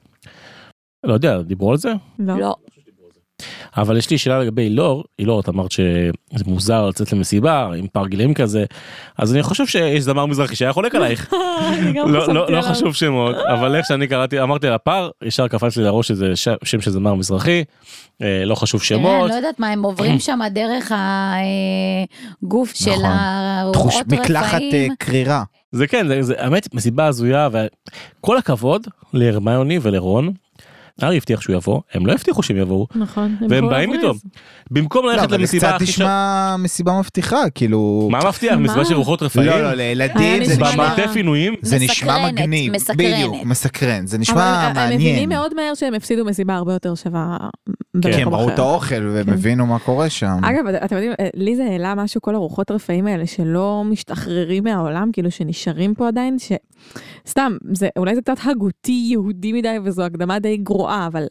[SPEAKER 1] לא יודע, דיברו על זה?
[SPEAKER 4] לא.
[SPEAKER 5] לא.
[SPEAKER 1] אבל יש לי שאלה לגבי אילור, אילור את אמרת שזה מוזר לצאת למסיבה עם פער גילים כזה, אז אני חושב שיש זמר מזרחי שהיה חולק עלייך.
[SPEAKER 4] אני גם
[SPEAKER 1] לא- לא
[SPEAKER 4] חשבתי
[SPEAKER 1] לא
[SPEAKER 4] עליו.
[SPEAKER 1] חשוב שמות, אבל איך שאני קראתי, אמרתי על הפער, ישר קפץ לי לראש איזה ש- שם של זמר מזרחי, אה, לא חשוב
[SPEAKER 5] תראה, אני
[SPEAKER 1] שמות. כן.
[SPEAKER 5] לא יודעת מה, הם עוברים שם דרך הגוף של
[SPEAKER 3] נכון.
[SPEAKER 5] הרוחות
[SPEAKER 3] תחוש
[SPEAKER 5] רפאים.
[SPEAKER 3] מקלחת אה, קרירה.
[SPEAKER 1] זה כן, זה- זה האמת מסיבה הזויה, וכל הכבוד להרמיוני ולרון. הארי הבטיח שהוא יבוא, הם לא הבטיחו שהם יבואו.
[SPEAKER 4] נכון. הם
[SPEAKER 1] והם
[SPEAKER 4] יכלו
[SPEAKER 1] באים
[SPEAKER 4] להפריז.
[SPEAKER 1] איתו. במקום
[SPEAKER 3] לא,
[SPEAKER 1] ללכת
[SPEAKER 3] אבל זה
[SPEAKER 1] למסיבה
[SPEAKER 3] קצת
[SPEAKER 1] הכי ש...
[SPEAKER 3] נשמע מסיבה מבטיחה, כאילו...
[SPEAKER 1] מה מבטיח?
[SPEAKER 4] מה?
[SPEAKER 1] מסיבה של רוחות רפאים?
[SPEAKER 3] לא, לא, לילדים זה
[SPEAKER 4] היה אה, נשמע
[SPEAKER 3] נשמע...
[SPEAKER 4] נורא.
[SPEAKER 1] במטה פינויים?
[SPEAKER 3] זה נשמע
[SPEAKER 5] מסקרנת,
[SPEAKER 3] מגניב.
[SPEAKER 5] מסקרנת.
[SPEAKER 3] בדיוק, מסקרן. זה
[SPEAKER 4] אבל אה,
[SPEAKER 3] נשמע
[SPEAKER 4] הם- הם מבינים
[SPEAKER 3] מעניין.
[SPEAKER 4] מאוד מהר שהם הפסידו מסיבה הרבה יותר שווה
[SPEAKER 1] כן.
[SPEAKER 3] כי הם
[SPEAKER 4] במקום
[SPEAKER 3] ראו
[SPEAKER 4] אחר.
[SPEAKER 3] את האוכל והם הבינו מה קורה שם.
[SPEAKER 4] אגב, את- אתם יודעים, אה, לי זה העלה משהו, כל הרוחות רפאים האלה שלא משתחררים מהעולם, כאילו שנשארים פה עדיין, ש... סתם, זה, אולי זה קצת הגותי יהודי מדי וזו הקדמה די גרועה, אבל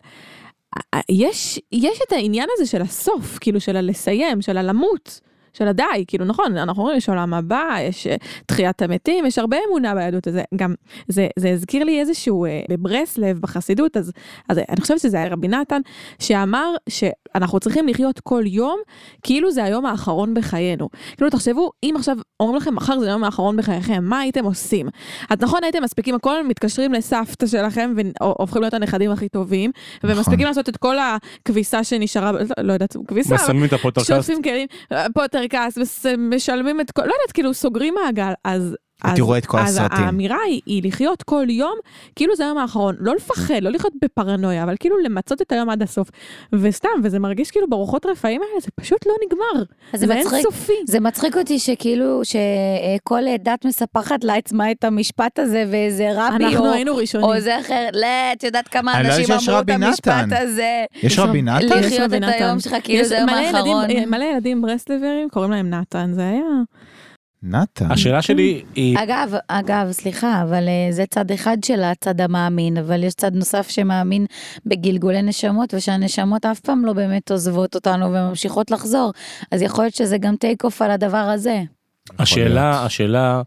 [SPEAKER 4] אה, אה, יש, יש את העניין הזה של הסוף, כאילו של הלסיים, של הלמות. של הדי, כאילו נכון, אנחנו אומרים יש עולם הבא, יש אה, תחיית המתים, יש הרבה אמונה ביהדות הזה. גם זה, זה הזכיר לי איזשהו אה, בברסלב, בחסידות, אז, אז אני חושבת שזה היה רבי נתן, שאמר שאנחנו צריכים לחיות כל יום כאילו זה היום האחרון בחיינו. כאילו תחשבו, אם עכשיו אומרים לכם מחר זה היום האחרון בחייכם, מה הייתם עושים? אז נכון הייתם מספיקים הכל, מתקשרים לסבתא שלכם והופכים להיות הנכדים הכי טובים,
[SPEAKER 3] נכון.
[SPEAKER 4] ומספיקים לעשות את כל הכביסה שנשארה, לא, לא יודעת, כביסה, אבל
[SPEAKER 1] מסיימים את הפוטרקאסט?
[SPEAKER 4] שוטפים כלים, פוטרקאסט, מס- משלמים את כל, לא יודעת, כאילו סוגרים מעגל, אז אז-
[SPEAKER 3] ותראו את כל
[SPEAKER 4] אז
[SPEAKER 3] הסרטים.
[SPEAKER 4] האמירה היא, היא לחיות כל יום, כאילו זה היום האחרון, לא לפחד, לא לחיות בפרנויה, אבל כאילו למצות את היום עד הסוף. וסתם, וזה מרגיש כאילו ברוחות רפאים האלה, זה פשוט לא נגמר.
[SPEAKER 5] זה מצחיק.
[SPEAKER 4] אינסופי.
[SPEAKER 5] זה מצחיק אותי שכאילו, שכל דת מספחת לעצמה את המשפט הזה, ואיזה רבי או...
[SPEAKER 4] אנחנו היינו
[SPEAKER 5] או
[SPEAKER 4] ראשונים.
[SPEAKER 5] איזה אחר, לא, את יודעת כמה
[SPEAKER 3] אני לא
[SPEAKER 5] אנשים
[SPEAKER 3] יודעת שיש
[SPEAKER 5] אמרו את
[SPEAKER 3] רבי
[SPEAKER 5] המשפט
[SPEAKER 3] נתן.
[SPEAKER 5] הזה.
[SPEAKER 3] יש רבי נתן?
[SPEAKER 4] לי- יש
[SPEAKER 5] לחיות
[SPEAKER 4] רבי
[SPEAKER 5] את
[SPEAKER 4] נתן.
[SPEAKER 5] היום שלך, כאילו
[SPEAKER 4] יש
[SPEAKER 5] זה היום
[SPEAKER 4] מלא ילדים- אה,
[SPEAKER 5] האחרון.
[SPEAKER 4] מלא ילדים ברסלברים, קוראים להם נתן, זה היה...
[SPEAKER 3] נתן.
[SPEAKER 1] השאלה שלי היא,
[SPEAKER 3] אה,
[SPEAKER 5] אגב, אגב, סליחה, אבל אה, זה צד אחד של הצד המאמין, אבל יש צד נוסף שמאמין בגלגולי נשמות, ושהנשמות אף פעם לא באמת עוזבות אותנו וממשיכות לחזור, אז יכול להיות שזה גם טייק אוף על הדבר הזה.
[SPEAKER 1] השאלה, השאלה,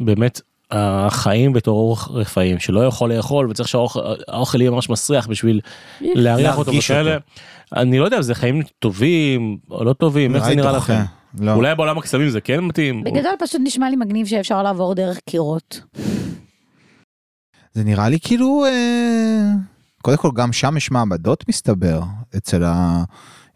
[SPEAKER 1] באמת, החיים בתור אורח רפאים, שלא יכול לאכול וצריך שהאוכל יהיה ממש מסריח בשביל להריח אותו
[SPEAKER 3] להרגיש
[SPEAKER 1] וכאלה. אני לא יודע אם זה חיים טובים או לא טובים, איך זה נראה
[SPEAKER 3] דוחה.
[SPEAKER 1] לכם?
[SPEAKER 3] לא.
[SPEAKER 1] אולי בעולם הקסמים זה כן מתאים?
[SPEAKER 5] בגדול פשוט נשמע לי מגניב שאפשר לעבור דרך קירות.
[SPEAKER 3] זה נראה לי כאילו אה, קודם כל גם שם יש מעמדות מסתבר אצל ה...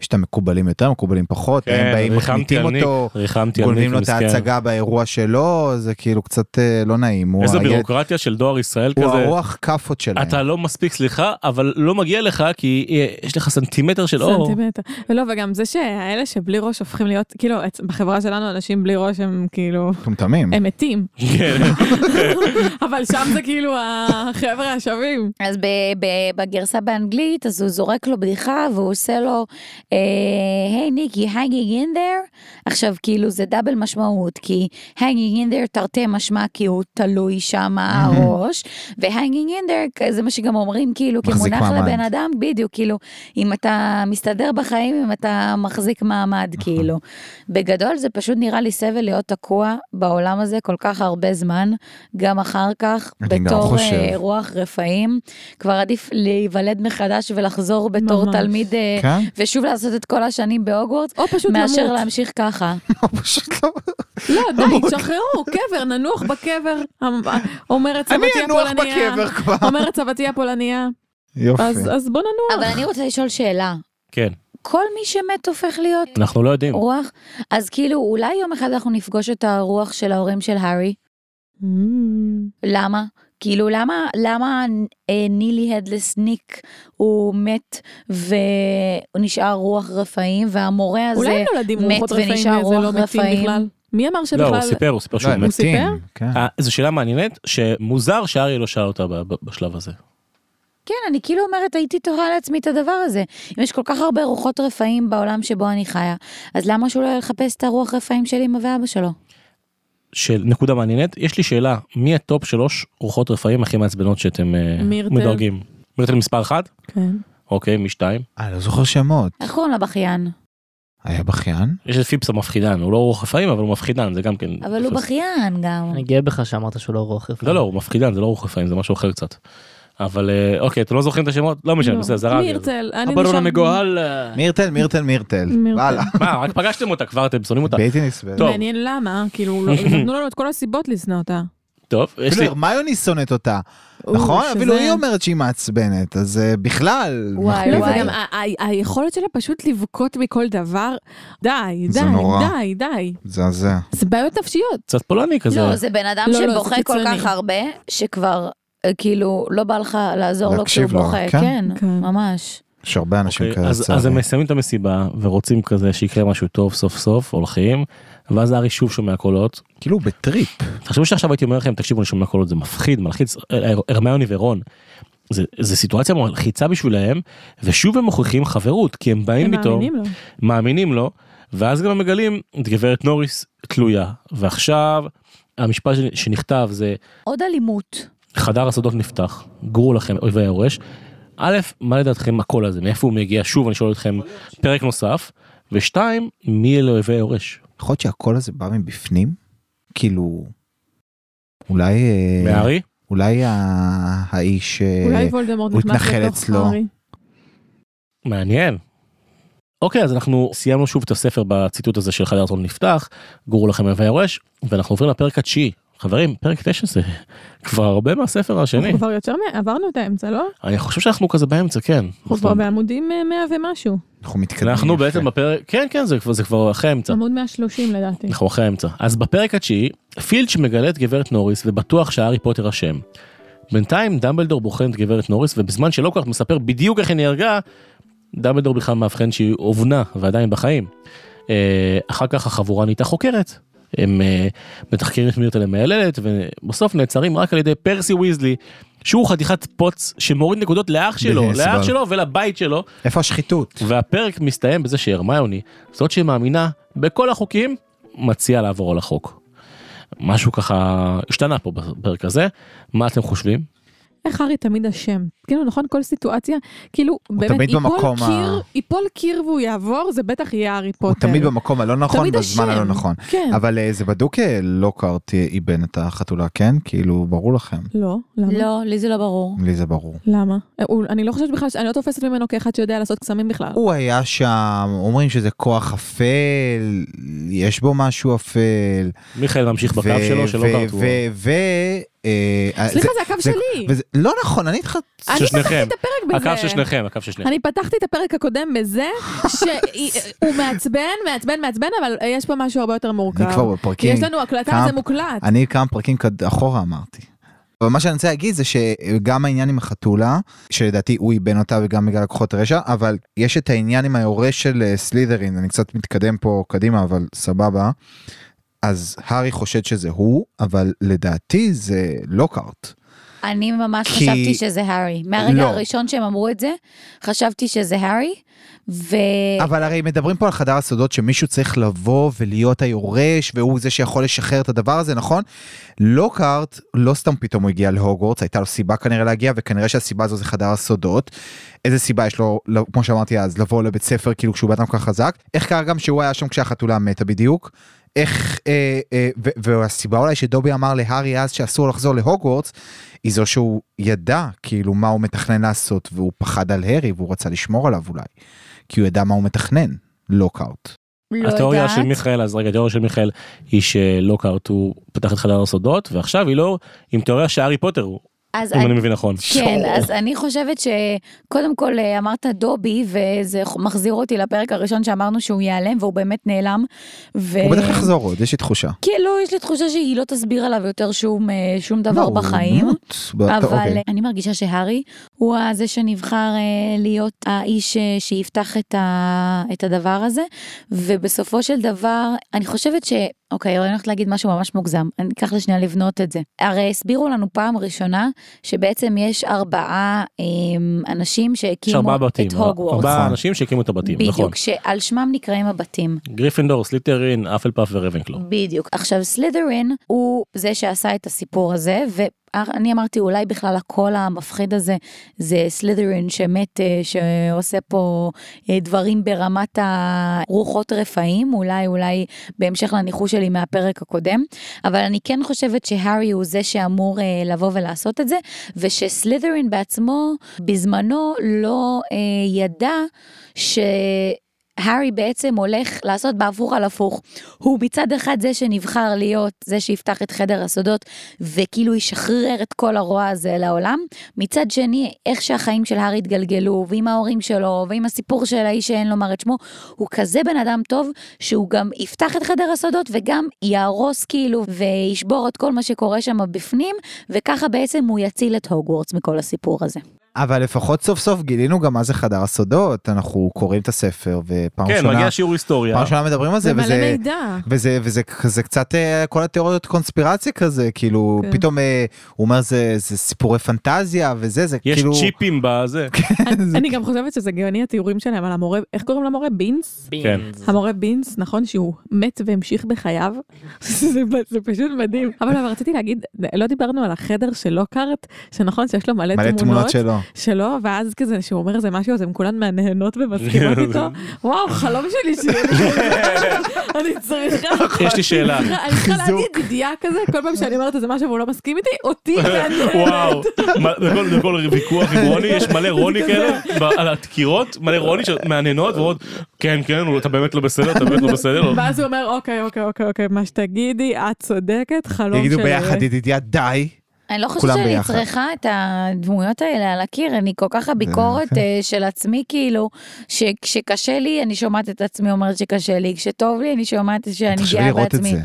[SPEAKER 3] יש את המקובלים יותר מקובלים פחות
[SPEAKER 1] כן,
[SPEAKER 3] הם באים
[SPEAKER 1] ריחמתי
[SPEAKER 3] מחניתים
[SPEAKER 1] על ניק,
[SPEAKER 3] אותו
[SPEAKER 1] ריחמתי על
[SPEAKER 3] גונבים
[SPEAKER 1] ניק,
[SPEAKER 3] לו את
[SPEAKER 1] מסכן.
[SPEAKER 3] ההצגה באירוע שלו זה כאילו קצת אה, לא נעים הוא
[SPEAKER 1] איזה
[SPEAKER 3] הילד-
[SPEAKER 1] בירוקרטיה של דואר ישראל
[SPEAKER 3] הוא
[SPEAKER 1] כזה.
[SPEAKER 3] הרוח כאפות שלהם.
[SPEAKER 1] אתה לא מספיק סליחה אבל לא מגיע לך כי אה, יש לך סנטימטר של
[SPEAKER 3] לא.
[SPEAKER 1] אור.
[SPEAKER 4] סנטימטר. ולא, וגם זה שהאלה שבלי ראש הופכים להיות, כאילו, אצ- בחברה שלנו אנשים בלי ראש הם כאילו,
[SPEAKER 3] מטומטמים.
[SPEAKER 4] הם מתים,
[SPEAKER 1] כן.
[SPEAKER 4] אבל שם זה כאילו החבר'ה השווים.
[SPEAKER 5] אז ב- ב- בגרסה באנגלית, אז הוא זורק לו בדיחה והוא עושה לו, אה, היי ניקי, hanging in there. עכשיו, כאילו, זה דאבל משמעות, כי hanging in there תרתי משמע, כי הוא תלוי שם הראש, ו-hanging in there, זה מה שגם אומרים, כאילו,
[SPEAKER 3] מחזיק
[SPEAKER 5] כמונח
[SPEAKER 3] מעמד.
[SPEAKER 5] לבן אדם, בדיוק, כאילו, אם אתה מסתדר בחיים, אם אתה מחזיק מעמד,
[SPEAKER 3] נכון.
[SPEAKER 5] כאילו. בגדול, זה פשוט נראה לי סבל להיות תקוע בעולם הזה כל כך הרבה זמן, גם אחר כך,
[SPEAKER 3] אני גם
[SPEAKER 5] בתור
[SPEAKER 3] חושב.
[SPEAKER 5] אה, רוח רפאים, כבר עדיף להיוולד מחדש ולחזור בתור
[SPEAKER 4] ממש.
[SPEAKER 5] תלמיד, אה,
[SPEAKER 3] כן?
[SPEAKER 5] ושוב לעשות את כל השנים בהוגוורטס,
[SPEAKER 4] או פשוט
[SPEAKER 5] מאשר
[SPEAKER 4] למות.
[SPEAKER 5] להמשיך ככה.
[SPEAKER 3] פשוט לא.
[SPEAKER 4] לא, די, תשחררו, קבר, ננוח בקבר. אמ- אומרת
[SPEAKER 3] אני
[SPEAKER 4] סבתי
[SPEAKER 3] אנוח
[SPEAKER 4] הפולניה.
[SPEAKER 3] בקבר כבר.
[SPEAKER 4] אומרת סבתי הפולניה.
[SPEAKER 3] יופי.
[SPEAKER 4] אז אז בוא
[SPEAKER 5] אבל
[SPEAKER 4] ננוח.
[SPEAKER 5] אני רוצה לשאול שאלה,
[SPEAKER 1] כן
[SPEAKER 5] כל מי שמת הופך להיות
[SPEAKER 1] אנחנו לא יודעים.
[SPEAKER 5] רוח? אז כאילו, אולי יום אחד אנחנו נפגוש את הרוח של ההורים של הארי? Mm.
[SPEAKER 4] אמ,
[SPEAKER 5] למה? כאילו למה למה אה, נילי הדלס ניק הוא מת והוא נשאר רוח רפאים והמורה הזה
[SPEAKER 4] אולי הם נולדים
[SPEAKER 5] מת
[SPEAKER 4] רוחות רפאים
[SPEAKER 5] ונשאר
[SPEAKER 4] וזה לא
[SPEAKER 5] רוח
[SPEAKER 4] מתים
[SPEAKER 5] רפאים.
[SPEAKER 4] בכלל. מי אמר
[SPEAKER 1] לא הוא
[SPEAKER 4] שבכלל...
[SPEAKER 1] סיפר הוא סיפר
[SPEAKER 3] לא,
[SPEAKER 1] שהוא
[SPEAKER 3] הם
[SPEAKER 1] מת.
[SPEAKER 4] הוא סיפר?
[SPEAKER 3] מתים, כן.
[SPEAKER 1] אה, זו שאלה מעניינת שמוזר שאריה לא שאל אותה ב- ב- בשלב הזה.
[SPEAKER 5] כן, אני כאילו אומרת, הייתי תוהה לעצמי את הדבר הזה. אם יש כל כך הרבה רוחות רפאים בעולם שבו אני חיה, אז למה שהוא לא יחפש את הרוח רפאים של אמא ואבא שלו?
[SPEAKER 1] של נקודה מעניינת יש לי שאלה מי הטופ שלוש רוחות רפאים הכי מעצבנות שאתם אה,
[SPEAKER 4] מירטל.
[SPEAKER 1] מדרגים. מירטל מספר אחת?
[SPEAKER 4] כן.
[SPEAKER 1] אוקיי משתיים.
[SPEAKER 3] אני לא זוכר שמות.
[SPEAKER 4] נכון.
[SPEAKER 5] איך קוראים לה בכיין?
[SPEAKER 3] היה בכיין?
[SPEAKER 1] יש את פיפס המפחידן הוא לא רוח רפאים אבל הוא מפחידן זה גם כן.
[SPEAKER 5] אבל הוא
[SPEAKER 1] תופס.
[SPEAKER 5] בכיין גם.
[SPEAKER 2] אני גאה בך שאמרת שהוא לא רוח רפאים.
[SPEAKER 1] לא לא הוא מפחידן זה לא רוח רפאים זה משהו אחר קצת. אבל אה, אוקיי אתם לא זוכרים את השמות לא משנה
[SPEAKER 4] לא.
[SPEAKER 1] בסדר זה רב.
[SPEAKER 4] מי ירצה? אני
[SPEAKER 1] הבלון
[SPEAKER 4] נשאר-
[SPEAKER 1] המגוהל. אה,
[SPEAKER 3] מירטל, מירטל, מירטל.
[SPEAKER 4] מירטל.
[SPEAKER 3] וואלה.
[SPEAKER 1] מה רק פגשתם אותה כבר אתם שונאים אותה.
[SPEAKER 3] בלתי נסבל.
[SPEAKER 1] טוב.
[SPEAKER 4] מעניין למה, כאילו, לא- נתנו לנו את כל הסיבות לשנוא אותה.
[SPEAKER 1] טוב יש
[SPEAKER 3] אפילו
[SPEAKER 1] לי
[SPEAKER 3] הרמיוני שונאת אותה,
[SPEAKER 4] או,
[SPEAKER 3] נכון?
[SPEAKER 4] שזה-
[SPEAKER 3] אפילו היא אומרת שהיא מעצבנת, אז אה, בכלל,
[SPEAKER 5] וואי,
[SPEAKER 3] מה
[SPEAKER 4] לא,
[SPEAKER 3] אכפת
[SPEAKER 5] וואי.
[SPEAKER 4] וגם
[SPEAKER 3] לי?
[SPEAKER 4] ה- ה- היכולת שלה פשוט לבכות מכל דבר, די,
[SPEAKER 3] זה
[SPEAKER 4] די,
[SPEAKER 3] נורא.
[SPEAKER 4] די, די.
[SPEAKER 3] מזעזע.
[SPEAKER 4] זה בעיות נפשיות.
[SPEAKER 1] קצת פולני כזה.
[SPEAKER 5] לא, זה בן אדם
[SPEAKER 4] לא, לא, זה
[SPEAKER 5] שבוכה כל
[SPEAKER 4] קיצוני.
[SPEAKER 5] כך הרבה, שכבר, אה, כאילו, לא בא לך לעזור לו כשהוא
[SPEAKER 3] להקשיב לו,
[SPEAKER 5] בוכה.
[SPEAKER 3] כן?
[SPEAKER 5] כן,
[SPEAKER 4] כן.
[SPEAKER 5] ממש.
[SPEAKER 3] יש הרבה אנשים
[SPEAKER 1] אוקיי,
[SPEAKER 3] כאלה,
[SPEAKER 1] אז-
[SPEAKER 3] לצערי.
[SPEAKER 1] אז הם מסיימים את המסיבה ורוצים כזה שיקרה משהו טוב סוף סוף הולכים ואז הארי שוב שומע קולות.
[SPEAKER 3] כאילו הוא בטריפ.
[SPEAKER 1] תחשבו שעכשיו הייתי אומר לכם תקשיבו אני שומע קולות זה מפחיד מלחיץ אה, הרמיוני ורון. זה, זה סיטואציה מלחיצה בשבילהם ושוב הם מוכיחים חברות כי הם באים
[SPEAKER 4] הם
[SPEAKER 1] פתאום
[SPEAKER 4] מאמינים לו.
[SPEAKER 1] מאמינים לו ואז גם הם מגלים את גברת נוריס תלויה ועכשיו המשפט שנ- שנכתב זה
[SPEAKER 5] עוד אלימות.
[SPEAKER 1] חדר הסודות נפתח, גורו לכם אויבי היורש. א', מה לדעתכם הקול הזה, מאיפה הוא מגיע? שוב, אני שואל אתכם פרק נוסף. ושתיים, מי אלה אויבי היורש?
[SPEAKER 3] יכול להיות שהקול הזה בא מבפנים? כאילו, אולי... אה,
[SPEAKER 1] מהארי?
[SPEAKER 3] אולי ה- האיש... אה,
[SPEAKER 4] אולי וולדמורט
[SPEAKER 3] הוא
[SPEAKER 4] נכנס לתוך
[SPEAKER 3] התנחל אצלו.
[SPEAKER 4] הארי.
[SPEAKER 1] מעניין. אוקיי, אז אנחנו סיימנו שוב את הספר בציטוט הזה של חדר הסודות נפתח, גורו לכם אויבי היורש, ואנחנו עוברים לפרק התשיעי. חברים, פרק 9 זה כבר הרבה מהספר השני.
[SPEAKER 4] אנחנו כבר יותר מ- עברנו את האמצע, לא?
[SPEAKER 1] אני חושב שאנחנו כזה באמצע, כן.
[SPEAKER 4] אנחנו כבר בעמודים אה, 100 ומשהו.
[SPEAKER 3] אנחנו מתקדמים.
[SPEAKER 1] אנחנו
[SPEAKER 3] יפה.
[SPEAKER 1] בעצם בפרק, כן כן זה כבר, זה כבר אחרי האמצע.
[SPEAKER 4] עמוד 130 לדעתי.
[SPEAKER 1] אנחנו אחרי האמצע. אז בפרק התשיעי, פילץ' מגלה את גברת נוריס ובטוח שהארי פוטר אשם. בינתיים דמבלדור בוחן את גברת נוריס ובזמן שלא כל כך מספר בדיוק איך היא נהרגה, דמבלדור בכלל מאבחן שהיא אובנה ועדיין בחיים. אה, אחר כך החבורה נהייתה חוקרת. הם אה, מתחקרים את מירטל המהללת ובסוף נעצרים רק על ידי פרסי ויזלי שהוא חתיכת פוץ שמוריד נקודות לאח שלו,
[SPEAKER 3] בהסבר.
[SPEAKER 1] לאח שלו ולבית שלו
[SPEAKER 3] איפה השחיתות?
[SPEAKER 1] והפרק מסתיים בזה שהרמיוני, זאת שמאמינה בכל החוקים, מציעה לעבור על החוק. משהו ככה השתנה פה בפרק הזה, מה אתם חושבים?
[SPEAKER 4] איך הארי תמיד אשם? כאילו, נכון? כל סיטואציה, כאילו, באמת,
[SPEAKER 3] תמיד במקום ה-
[SPEAKER 4] ייפול קיר, ייפול קיר והוא יעבור, זה בטח יהיה הארי
[SPEAKER 3] הוא
[SPEAKER 4] פוטר.
[SPEAKER 3] תמיד במקום הלא נכון
[SPEAKER 4] תמיד
[SPEAKER 3] בזמן הלא
[SPEAKER 4] אשם.
[SPEAKER 3] נכון.
[SPEAKER 4] כן.
[SPEAKER 3] אבל אה, זה בדוק אה, לוקארט אה, איבן את החתולה, כן? כאילו, ברור לכם.
[SPEAKER 4] לא, למה?
[SPEAKER 5] לא, לי זה לא ברור.
[SPEAKER 3] לי זה ברור.
[SPEAKER 4] למה? אה, הוא- אני לא חושבת בכלל, ש- אני לא תופסת ממנו כאחד שיודע לעשות קסמים בכלל.
[SPEAKER 3] הוא היה שם, אומרים שזה כוח אפל, יש בו משהו אפל.
[SPEAKER 1] מיכאל ממשיך בקו
[SPEAKER 3] ו-
[SPEAKER 1] שלו שלא
[SPEAKER 3] ו-
[SPEAKER 1] קראת.
[SPEAKER 3] ו... ו... אה,
[SPEAKER 4] סליחה,
[SPEAKER 3] זה-
[SPEAKER 4] זה הקו
[SPEAKER 3] זה-
[SPEAKER 4] שלי.
[SPEAKER 3] וזה- לא נכון, אני איתך...
[SPEAKER 4] אני
[SPEAKER 1] של
[SPEAKER 4] פתחתי
[SPEAKER 1] שניכם.
[SPEAKER 4] את הפרק בזה.
[SPEAKER 1] הקו של שניכם, הקו של שניכם.
[SPEAKER 4] אני פתחתי את הפרק הקודם בזה שהוא מעצבן, מעצבן, מעצבן, אבל אה, יש פה משהו הרבה יותר מורכב.
[SPEAKER 3] אני כבר בפרקים.
[SPEAKER 4] יש לנו הקלטה,
[SPEAKER 3] כמה-
[SPEAKER 4] זה מוקלט.
[SPEAKER 3] אני כמה פרקים קד- אחורה אמרתי. אבל מה שאני רוצה להגיד זה שגם העניין עם החתולה, שלדעתי הוא איבן אותה וגם בגלל הכוחות רשע, אבל יש את העניין עם היורש של אה, סלידרין, אני קצת מתקדם פה קדימה, אבל סבבה. אז הארי חושד שזה הוא, אבל לדעתי זה לוקארט.
[SPEAKER 5] אני ממש
[SPEAKER 3] כי-
[SPEAKER 5] חשבתי שזה הארי. מהרגע
[SPEAKER 3] לא.
[SPEAKER 5] הראשון שהם אמרו את זה, חשבתי שזה הארי, ו...
[SPEAKER 3] אבל הרי מדברים פה על חדר הסודות שמישהו צריך לבוא ולהיות היורש והוא זה שיכול לשחרר את הדבר הזה נכון? לוקארט לא סתם פתאום הוא הגיע להוגוורטס הייתה לו סיבה כנראה להגיע וכנראה שהסיבה הזו זה חדר הסודות. איזה סיבה יש לו לא- כמו שאמרתי אז לבוא לבית ספר כאילו כשהוא בן אדם כל כך חזק איך קרה גם שהוא היה שם כשהחתולה מתה בדיוק. איך אה, אה, ו- והסיבה אולי שדובי אמר להארי אז שאסור לחזור להוגוורטס היא זו שהוא ידע כאילו מה הוא מתכנן לעשות והוא פחד על הארי והוא רצה לשמור עליו אולי. כי הוא ידע מה הוא מתכנן, לוקאוט.
[SPEAKER 5] לא
[SPEAKER 1] התיאוריה
[SPEAKER 5] יודעת.
[SPEAKER 1] של מיכאל, אז רגע, התיאוריה של מיכאל היא שלוקארט הוא פתח את חדר הסודות, ועכשיו היא לא עם תיאוריה שהארי פוטר הוא,
[SPEAKER 5] אז
[SPEAKER 1] אם
[SPEAKER 5] אני-
[SPEAKER 1] אני מבין נכון.
[SPEAKER 5] כן, אז אני חושבת שקודם כל אה, אמרת דובי, וזה מחזיר אותי לפרק הראשון שאמרנו שהוא ייעלם, והוא באמת נעלם. ו...
[SPEAKER 3] הוא בטח יחזור עוד, יש לי תחושה.
[SPEAKER 5] כאילו, יש לי תחושה שהיא לא תסביר עליו יותר שום, אה, שום דבר
[SPEAKER 3] לא, הוא
[SPEAKER 5] בחיים.
[SPEAKER 3] דמות, בא- טוב,
[SPEAKER 5] אבל
[SPEAKER 3] אוקיי.
[SPEAKER 5] okay. אני מרגישה שהארי הוא זה שנבחר אה, להיות האיש אה, שיפתח את, ה, את הדבר הזה, ובסופו של דבר, אני חושבת ש... אוקיי, אני הולכת להגיד משהו ממש מוגזם, אני אקח לשנייה לבנות את זה. הרי הסבירו לנו פעם ראשונה שבעצם יש ארבעה אה, אנשים
[SPEAKER 1] יש
[SPEAKER 5] שהקימו
[SPEAKER 1] ארבעה בתים,
[SPEAKER 5] את הוגוורטס.
[SPEAKER 1] ארבעה
[SPEAKER 3] נכון.
[SPEAKER 1] אנשים שהקימו את הבתים,
[SPEAKER 5] בדיוק,
[SPEAKER 1] נכון.
[SPEAKER 5] שעל שמם נקראים הבתים.
[SPEAKER 1] גריפינדור, סליטרין, אפל פאף ורבנקלו.
[SPEAKER 5] בדיוק. עכשיו, סלידרין הוא זה שעשה את הסיפור הזה, ואני אמרתי, אולי בכלל הקול המפחיד הזה זה סלידרין שמת, אה, שעושה פה אה, דברים ברמת הרוחות רפאים, אולי, אולי בהמשך לניחוש שלי מהפרק הקודם, אבל אני כן חושבת שהארי הוא זה שאמור אה, לבוא ולעשות את זה, ושסלידרין בעצמו, בזמנו, לא אה, ידע ש... הארי בעצם הולך לעשות בהפוך על הפוך. הוא מצד אחד זה שנבחר להיות זה שיפתח את חדר הסודות וכאילו ישחרר את כל הרוע הזה לעולם. מצד שני, איך שהחיים של הארי התגלגלו, ועם ההורים שלו, ועם הסיפור של האיש שאין לומר את שמו, הוא כזה בן אדם טוב, שהוא גם יפתח את חדר הסודות וגם יהרוס כאילו, וישבור את כל מה שקורה שם בפנים, וככה בעצם הוא יציל את הוגוורטס מכל הסיפור הזה.
[SPEAKER 3] אבל לפחות סוף סוף גילינו גם מה זה חדר הסודות, אנחנו קוראים את הספר ופעם
[SPEAKER 1] כן,
[SPEAKER 3] ראשונה,
[SPEAKER 1] מגיע שיעור היסטוריה.
[SPEAKER 3] פעם ראשונה מדברים על זה,
[SPEAKER 4] זה מלא
[SPEAKER 3] וזה...
[SPEAKER 4] מידע.
[SPEAKER 3] וזה וזה כזה קצת אה, כל התיאוריות קונספירציה כזה כאילו
[SPEAKER 4] כן.
[SPEAKER 3] פתאום אה, הוא אומר זה זה סיפורי פנטזיה וזה זה
[SPEAKER 1] יש
[SPEAKER 3] כאילו
[SPEAKER 1] צ'יפים בזה.
[SPEAKER 4] אני- אני גם חושבת שזה גאוני התיאורים שלהם על המורה, איך קוראים למורה? בינס?
[SPEAKER 1] כן.
[SPEAKER 4] המורה בינס, נכון שהוא מת והמשיך בחייו? זה זה פשוט מדהים. אבל אבל רציתי להגיד, לא דיברנו על החדר של לוקארט, שנכון שיש לו מלא
[SPEAKER 3] מלא
[SPEAKER 4] תמונות
[SPEAKER 3] תמונות שלו.
[SPEAKER 4] שלו, ואז כזה, שהוא אומר איזה משהו, אז הן כולן מהנהנות ומסכימות איתו. וואו, חלום שלי שיהיה לי כזה. אני צריכה...
[SPEAKER 1] יש לי שאלה.
[SPEAKER 4] אני צריכה- אני צריכה
[SPEAKER 3] חיזוק.
[SPEAKER 4] להגיד ידיעה כזה, כל פעם שאני אומרת איזה משהו והוא לא מסכים איתי, אותי מעניין.
[SPEAKER 1] וואו, מה- בכל בכל ויכוח עם רוני, יש מלא רוני כאלה ב- על הדקירות, מלא רוני שמעניינות ועוד, כן, כן, הוא- אתה באמת לא בסדר, אתה באמת לא בסדר. לא."
[SPEAKER 4] ואז הוא אומר, אוקיי, אוקיי, אוקיי, אוקיי, מה שתגידי, את צודקת, חלום שלי.
[SPEAKER 3] יגידו ביחד ידידיה די
[SPEAKER 5] אני לא חושבת
[SPEAKER 3] כולם
[SPEAKER 5] שאני
[SPEAKER 3] ביחד.
[SPEAKER 5] צריכה את הדמויות האלה על הקיר, אני כל כך הביקורת
[SPEAKER 3] זה-
[SPEAKER 5] אה, של עצמי, כאילו, שכשקשה לי, אני שומעת את עצמי אומרת שקשה לי, כשטוב לי, אני שומעת שאני
[SPEAKER 3] תחשבי
[SPEAKER 5] גאה
[SPEAKER 3] לראות את
[SPEAKER 5] בעצמי.
[SPEAKER 3] זה.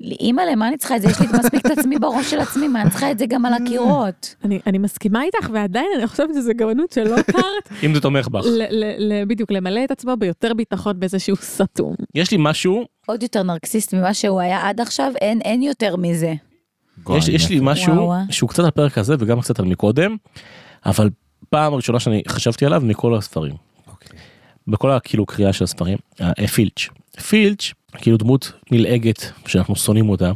[SPEAKER 5] אימא, למה אני צריכה את זה? יש לי מספיק את עצמי בראש של עצמי, מה אני צריכה את זה גם על הקירות?
[SPEAKER 4] אני, אני מסכימה איתך, ועדיין אני חושבת שזו גאונות שלא הכרת,
[SPEAKER 1] אם זה תומך בך.
[SPEAKER 4] ל- ל- ל- בדיוק, למלא את עצמו ביותר ביטחון באיזשהו סתום.
[SPEAKER 1] יש לי משהו,
[SPEAKER 5] עוד יותר נרקסיסט ממה שהוא היה עד עכשיו, אין, אין יותר מזה.
[SPEAKER 1] יש, יש לי משהו
[SPEAKER 5] וואו, וואו.
[SPEAKER 1] שהוא קצת על פרק הזה וגם קצת על מקודם, אבל פעם הראשונה שאני חשבתי עליו מכל הספרים.
[SPEAKER 3] אוקיי.
[SPEAKER 1] בכל הכאילו קריאה של הספרים, אה, פילץ'. פילץ', כאילו דמות נלעגת שאנחנו שונאים אותה,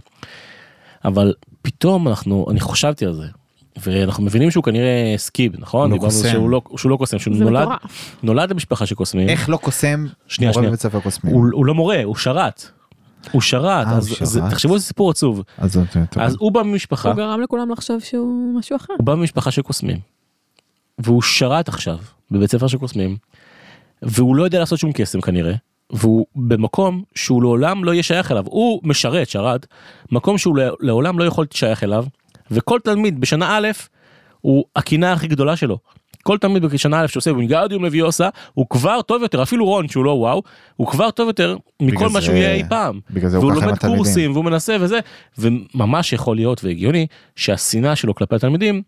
[SPEAKER 1] אבל פתאום אנחנו, אני חשבתי על זה, ואנחנו מבינים שהוא כנראה סקיב, נכון?
[SPEAKER 3] הוא לא
[SPEAKER 1] דיברנו
[SPEAKER 3] קוסם.
[SPEAKER 1] שהוא לא, שהוא לא קוסם, שהוא
[SPEAKER 4] זה
[SPEAKER 1] נולד,
[SPEAKER 4] מטורף.
[SPEAKER 1] נולד למשפחה של קוסמים,
[SPEAKER 3] איך לא קוסם?
[SPEAKER 1] שנייה,
[SPEAKER 3] מורה
[SPEAKER 1] שנייה.
[SPEAKER 3] בבית ספר קוסמים.
[SPEAKER 1] הוא, הוא לא מורה, הוא שרת. הוא שרת,
[SPEAKER 3] אה,
[SPEAKER 1] אז
[SPEAKER 3] הוא
[SPEAKER 1] זה-
[SPEAKER 3] שרת.
[SPEAKER 1] תחשבו איזה סיפור עצוב.
[SPEAKER 3] אז זה יותר טוב.
[SPEAKER 1] אז הוא בא ממשפחה,
[SPEAKER 4] הוא גרם לכולם לחשוב שהוא משהו אחר.
[SPEAKER 1] הוא בא ממשפחה של קוסמים. והוא שרת עכשיו בבית ספר של קוסמים. והוא לא יודע לעשות שום קסם כנראה. והוא במקום שהוא לעולם לא יהיה שייך אליו. הוא משרת, שרת, מקום שהוא לע- לעולם לא יכול להיות שייך אליו. וכל תלמיד בשנה א' הוא הקינה הכי גדולה שלו. כל תלמיד בשנה א' שעושה וינגרדיום לוויוסה הוא כבר טוב יותר אפילו רון שהוא לא וואו הוא כבר טוב יותר מכל
[SPEAKER 3] בגלל
[SPEAKER 1] מה
[SPEAKER 3] זה-
[SPEAKER 1] שהוא יהיה אי פעם.
[SPEAKER 3] בגלל זה הוא
[SPEAKER 1] והוא
[SPEAKER 3] ככה עם
[SPEAKER 1] לומד
[SPEAKER 3] התלמידים.
[SPEAKER 1] קורסים והוא מנסה וזה וממש יכול להיות והגיוני שהשנאה שלו כלפי התלמידים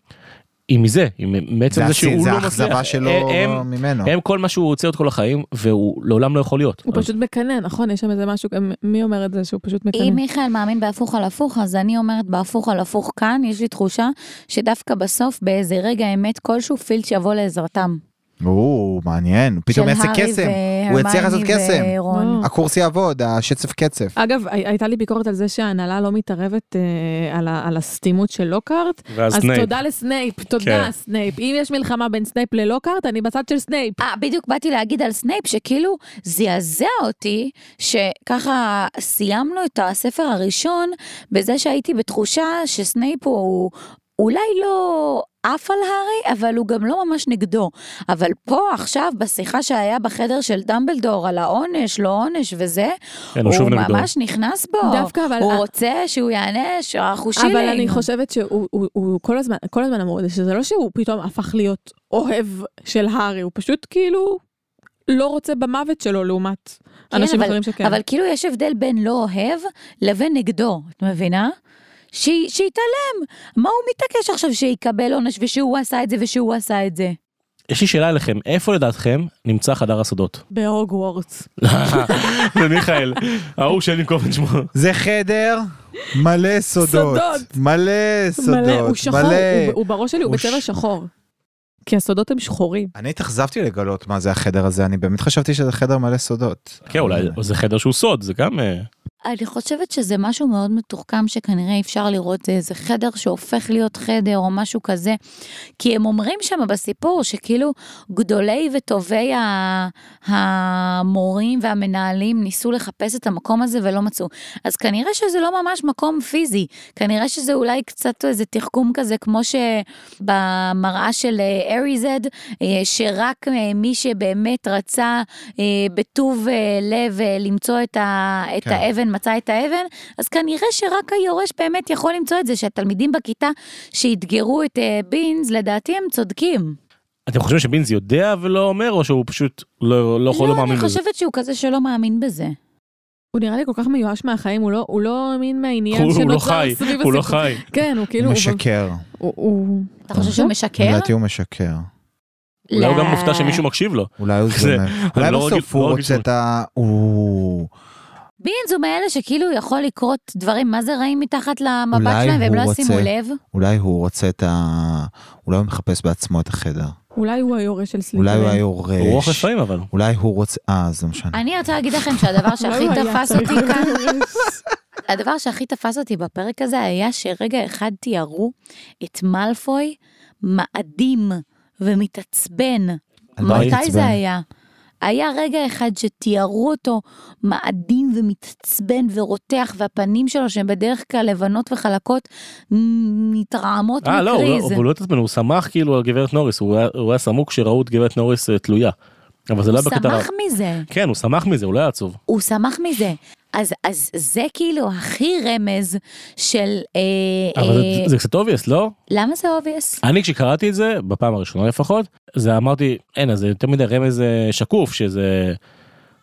[SPEAKER 1] היא מזה היא מ- מעצם
[SPEAKER 3] זה
[SPEAKER 1] זה
[SPEAKER 3] הסי-
[SPEAKER 1] שהוא
[SPEAKER 3] זה
[SPEAKER 1] לא
[SPEAKER 3] האכזבה
[SPEAKER 1] מצליח.
[SPEAKER 3] שלו
[SPEAKER 1] הם-
[SPEAKER 3] ממנו.
[SPEAKER 1] הם כל מה שהוא רוצה עוד כל החיים והוא לעולם לא יכול להיות.
[SPEAKER 4] הוא
[SPEAKER 1] אז-
[SPEAKER 4] פשוט מקנא, נכון? יש שם איזה משהו, מי אומר את זה שהוא פשוט
[SPEAKER 5] אם
[SPEAKER 4] מקנא?
[SPEAKER 5] מיכאל מאמין בהפוך על הפוך, אז אני אומרת בהפוך על הפוך כאן, יש לי תחושה שדווקא בסוף, באיזה רגע אמת כלשהו, פילץ' יבוא לעזרתם.
[SPEAKER 3] או, מעניין, הוא פתאום
[SPEAKER 5] של
[SPEAKER 3] יעשה
[SPEAKER 5] הארי
[SPEAKER 3] קסם.
[SPEAKER 5] והרמיוני
[SPEAKER 3] הוא יצליח לעשות קסם.
[SPEAKER 5] ורון.
[SPEAKER 4] לא.
[SPEAKER 3] הקורס יעבוד, השצף קצף.
[SPEAKER 4] אגב, הי- הייתה לי ביקורת על זה שההנהלה לא מתערבת אה, על ה- על הסתימות של לוקארט.
[SPEAKER 1] ואז
[SPEAKER 4] אז
[SPEAKER 1] סנייפ.
[SPEAKER 4] תודה לסנייפ,
[SPEAKER 1] כן.
[SPEAKER 4] תודה סנייפ. אם יש מלחמה בין סנייפ ללוקארט, אני בצד של סנייפ.
[SPEAKER 5] אה, בדיוק באתי להגיד על סנייפ, שכאילו זעזע אותי, שככה סיימנו את הספר הראשון, בזה שהייתי בתחושה שסנייפ הוא אולי לא עף על הארי, אבל הוא גם לא ממש נגדו. אבל פה עכשיו, בשיחה שהיה בחדר של דמבלדור על העונש, לא עונש וזה,
[SPEAKER 1] כן, הוא
[SPEAKER 5] הוא
[SPEAKER 1] שוב נגדו.
[SPEAKER 5] ממש נכנס בו.
[SPEAKER 4] דווקא, אבל-
[SPEAKER 5] הוא רוצה שהוא יענש, אנחנו שילינג.
[SPEAKER 4] אבל אני חושבת שהוא הוא- הוא כל הזמן, כל הזמן אמרו את זה, שזה לא שהוא פתאום הפך להיות אוהב של הארי, הוא פשוט כאילו לא רוצה במוות שלו לעומת
[SPEAKER 1] כן,
[SPEAKER 4] אנשים
[SPEAKER 5] כן, אבל-
[SPEAKER 4] אחרים שכן.
[SPEAKER 5] אבל כאילו יש הבדל בין לא אוהב לבין נגדו, את מבינה? ש... שיתעלם, מה הוא מתעקש עכשיו שיקבל עונש ושהוא עשה את זה ושהוא עשה את זה?
[SPEAKER 1] יש לי שאלה אליכם איפה לדעתכם נמצא חדר הסודות?
[SPEAKER 4] בהוגוורטס.
[SPEAKER 1] זה מיכאל ההוא שאני קובע את שמו.
[SPEAKER 3] זה חדר מלא סודות.
[SPEAKER 4] סודות.
[SPEAKER 3] מלא
[SPEAKER 4] מלא, הוא
[SPEAKER 3] סודות.
[SPEAKER 4] שחור, הוא- הוא בראש שלי, הוא
[SPEAKER 3] הוא
[SPEAKER 4] בצבע
[SPEAKER 3] ש-
[SPEAKER 4] שחור. כי הסודות הם שחורים.
[SPEAKER 3] אני התאכזבתי לגלות מה זה החדר הזה, אני באמת חשבתי שזה חדר מלא סודות.
[SPEAKER 1] כן אולי זה חדר שהוא סוד זה גם אה,
[SPEAKER 5] אני חושבת שזה משהו מאוד מתוחכם שכנראה אפשר לראות זה איזה חדר שהופך להיות חדר או משהו כזה. כי הם אומרים שם בסיפור שכאילו גדולי וטובי ה- המורים והמנהלים ניסו לחפש את המקום הזה ולא מצאו. אז כנראה שזה לא ממש מקום פיזי, כנראה שזה אולי קצת איזה תחכום כזה כמו שבמראה של אה, אריזד, אה, שרק אה, מי שבאמת רצה אה, בטוב אה, לב אה, למצוא את, ה, את
[SPEAKER 3] כן.
[SPEAKER 5] האבן, מצא את האבן, אז כנראה שרק היורש באמת יכול למצוא את זה, שהתלמידים בכיתה שאתגרו את אה, בינז, לדעתי הם צודקים.
[SPEAKER 1] אתם חושבים שבינז יודע ולא אומר או שהוא פשוט לא לא יכול לא
[SPEAKER 5] אני
[SPEAKER 1] מאמין בזה?
[SPEAKER 5] חושבת שהוא כזה שלא מאמין בזה.
[SPEAKER 4] הוא נראה לי כל כך מיואש מהחיים, הוא לא, הוא לא מין מהעניין
[SPEAKER 1] הוא- הוא לא
[SPEAKER 4] שנוצר
[SPEAKER 1] חי,
[SPEAKER 4] סביב הסיפור.
[SPEAKER 1] הוא לא חי.
[SPEAKER 4] כן, הוא כאילו...
[SPEAKER 3] הוא
[SPEAKER 4] הוא-
[SPEAKER 3] משקר.
[SPEAKER 4] הוא- הוא...
[SPEAKER 5] אתה חושב שהוא משקר?
[SPEAKER 3] אוקיי. לדעתי הוא משקר.
[SPEAKER 1] אולי הוא
[SPEAKER 5] לא.
[SPEAKER 1] גם מופתע שמישהו מקשיב לו.
[SPEAKER 3] אולי הוא
[SPEAKER 1] זה-
[SPEAKER 3] זונב. אולי
[SPEAKER 1] אני לא רגיל-
[SPEAKER 3] בסוף
[SPEAKER 1] לא
[SPEAKER 3] הוא
[SPEAKER 1] רגיל
[SPEAKER 3] רוצה
[SPEAKER 1] שהוא-
[SPEAKER 3] את ה... הוא...
[SPEAKER 5] בינז הוא מאלה שכאילו יכול לקרות דברים מה זה רעים מתחת למבט
[SPEAKER 3] אולי
[SPEAKER 5] שלהם והם
[SPEAKER 3] הוא
[SPEAKER 5] לא ישימו
[SPEAKER 3] רוצה-
[SPEAKER 5] לב.
[SPEAKER 3] אולי הוא רוצה את ה... אולי הוא מחפש בעצמו את החדר.
[SPEAKER 4] אולי הוא היורש של סליטרין.
[SPEAKER 3] אולי הוא היה
[SPEAKER 1] הוא רוח
[SPEAKER 3] יורש.
[SPEAKER 1] לפעמים אבל.
[SPEAKER 3] אולי הוא רוצה... אה, זה לא משנה.
[SPEAKER 5] אני רוצה להגיד לכם
[SPEAKER 3] לא,
[SPEAKER 5] שהדבר שהכי
[SPEAKER 4] אולי הוא היה
[SPEAKER 5] תפס
[SPEAKER 4] צריך
[SPEAKER 5] אותי
[SPEAKER 4] להיות
[SPEAKER 5] כאן,
[SPEAKER 4] יורש.
[SPEAKER 5] הדבר שהכי תפס אותי בפרק הזה היה שרגע אחד תיארו את מאלפוי מאדים ומתעצבן.
[SPEAKER 3] על מה הוא
[SPEAKER 5] מתי
[SPEAKER 3] התעצבן?
[SPEAKER 5] זה היה? היה רגע אחד שתיארו אותו מאדים ומתעצבן ורותח, והפנים שלו, שהן בדרך כלל לבנות וחלקות, מ- מתרעמות
[SPEAKER 1] אה לא, הוא לא-
[SPEAKER 5] מקריז.
[SPEAKER 1] אבל הוא לא התעצבן, הוא שמח כאילו על גברת נוריס, הוא היה- הוא היה סמוק כשראו את גברת נוריס אה, תלויה. אבל זה לא היה
[SPEAKER 5] הוא
[SPEAKER 1] בקטע רע.
[SPEAKER 5] שמח מזה.
[SPEAKER 1] כן, הוא שמח מזה, הוא לא היה עצוב.
[SPEAKER 5] הוא שמח מזה. אז, אז זה כאילו הכי רמז של... אה,
[SPEAKER 1] אבל
[SPEAKER 5] אה,
[SPEAKER 1] זה- זה קצת obvious, לא?
[SPEAKER 5] למה זה obvious?
[SPEAKER 1] אני כשקראתי את זה, בפעם הראשונה לפחות, זה אמרתי, אין, אז זה יותר מדי רמז אה, שקוף שזה,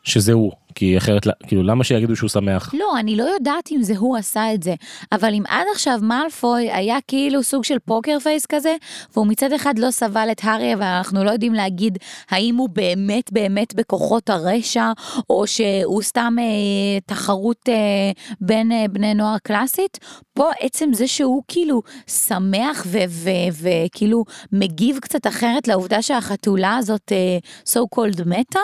[SPEAKER 1] שזה הוא. כי אחרת, לא- כאילו, למה שיגידו שהוא שמח?
[SPEAKER 5] לא, אני לא יודעת אם זה הוא עשה את זה, אבל אם עד עכשיו מאלפוי היה כאילו סוג של פוקר פייס כזה, והוא מצד אחד לא סבל את הארי, אבל אנחנו לא יודעים להגיד האם הוא באמת באמת בכוחות הרשע, או שהוא סתם אה, תחרות אה, בין אה, בני נוער קלאסית, פה עצם זה שהוא כאילו שמח וכאילו מגיב קצת אחרת לעובדה שהחתולה הזאת אה, so called מתה,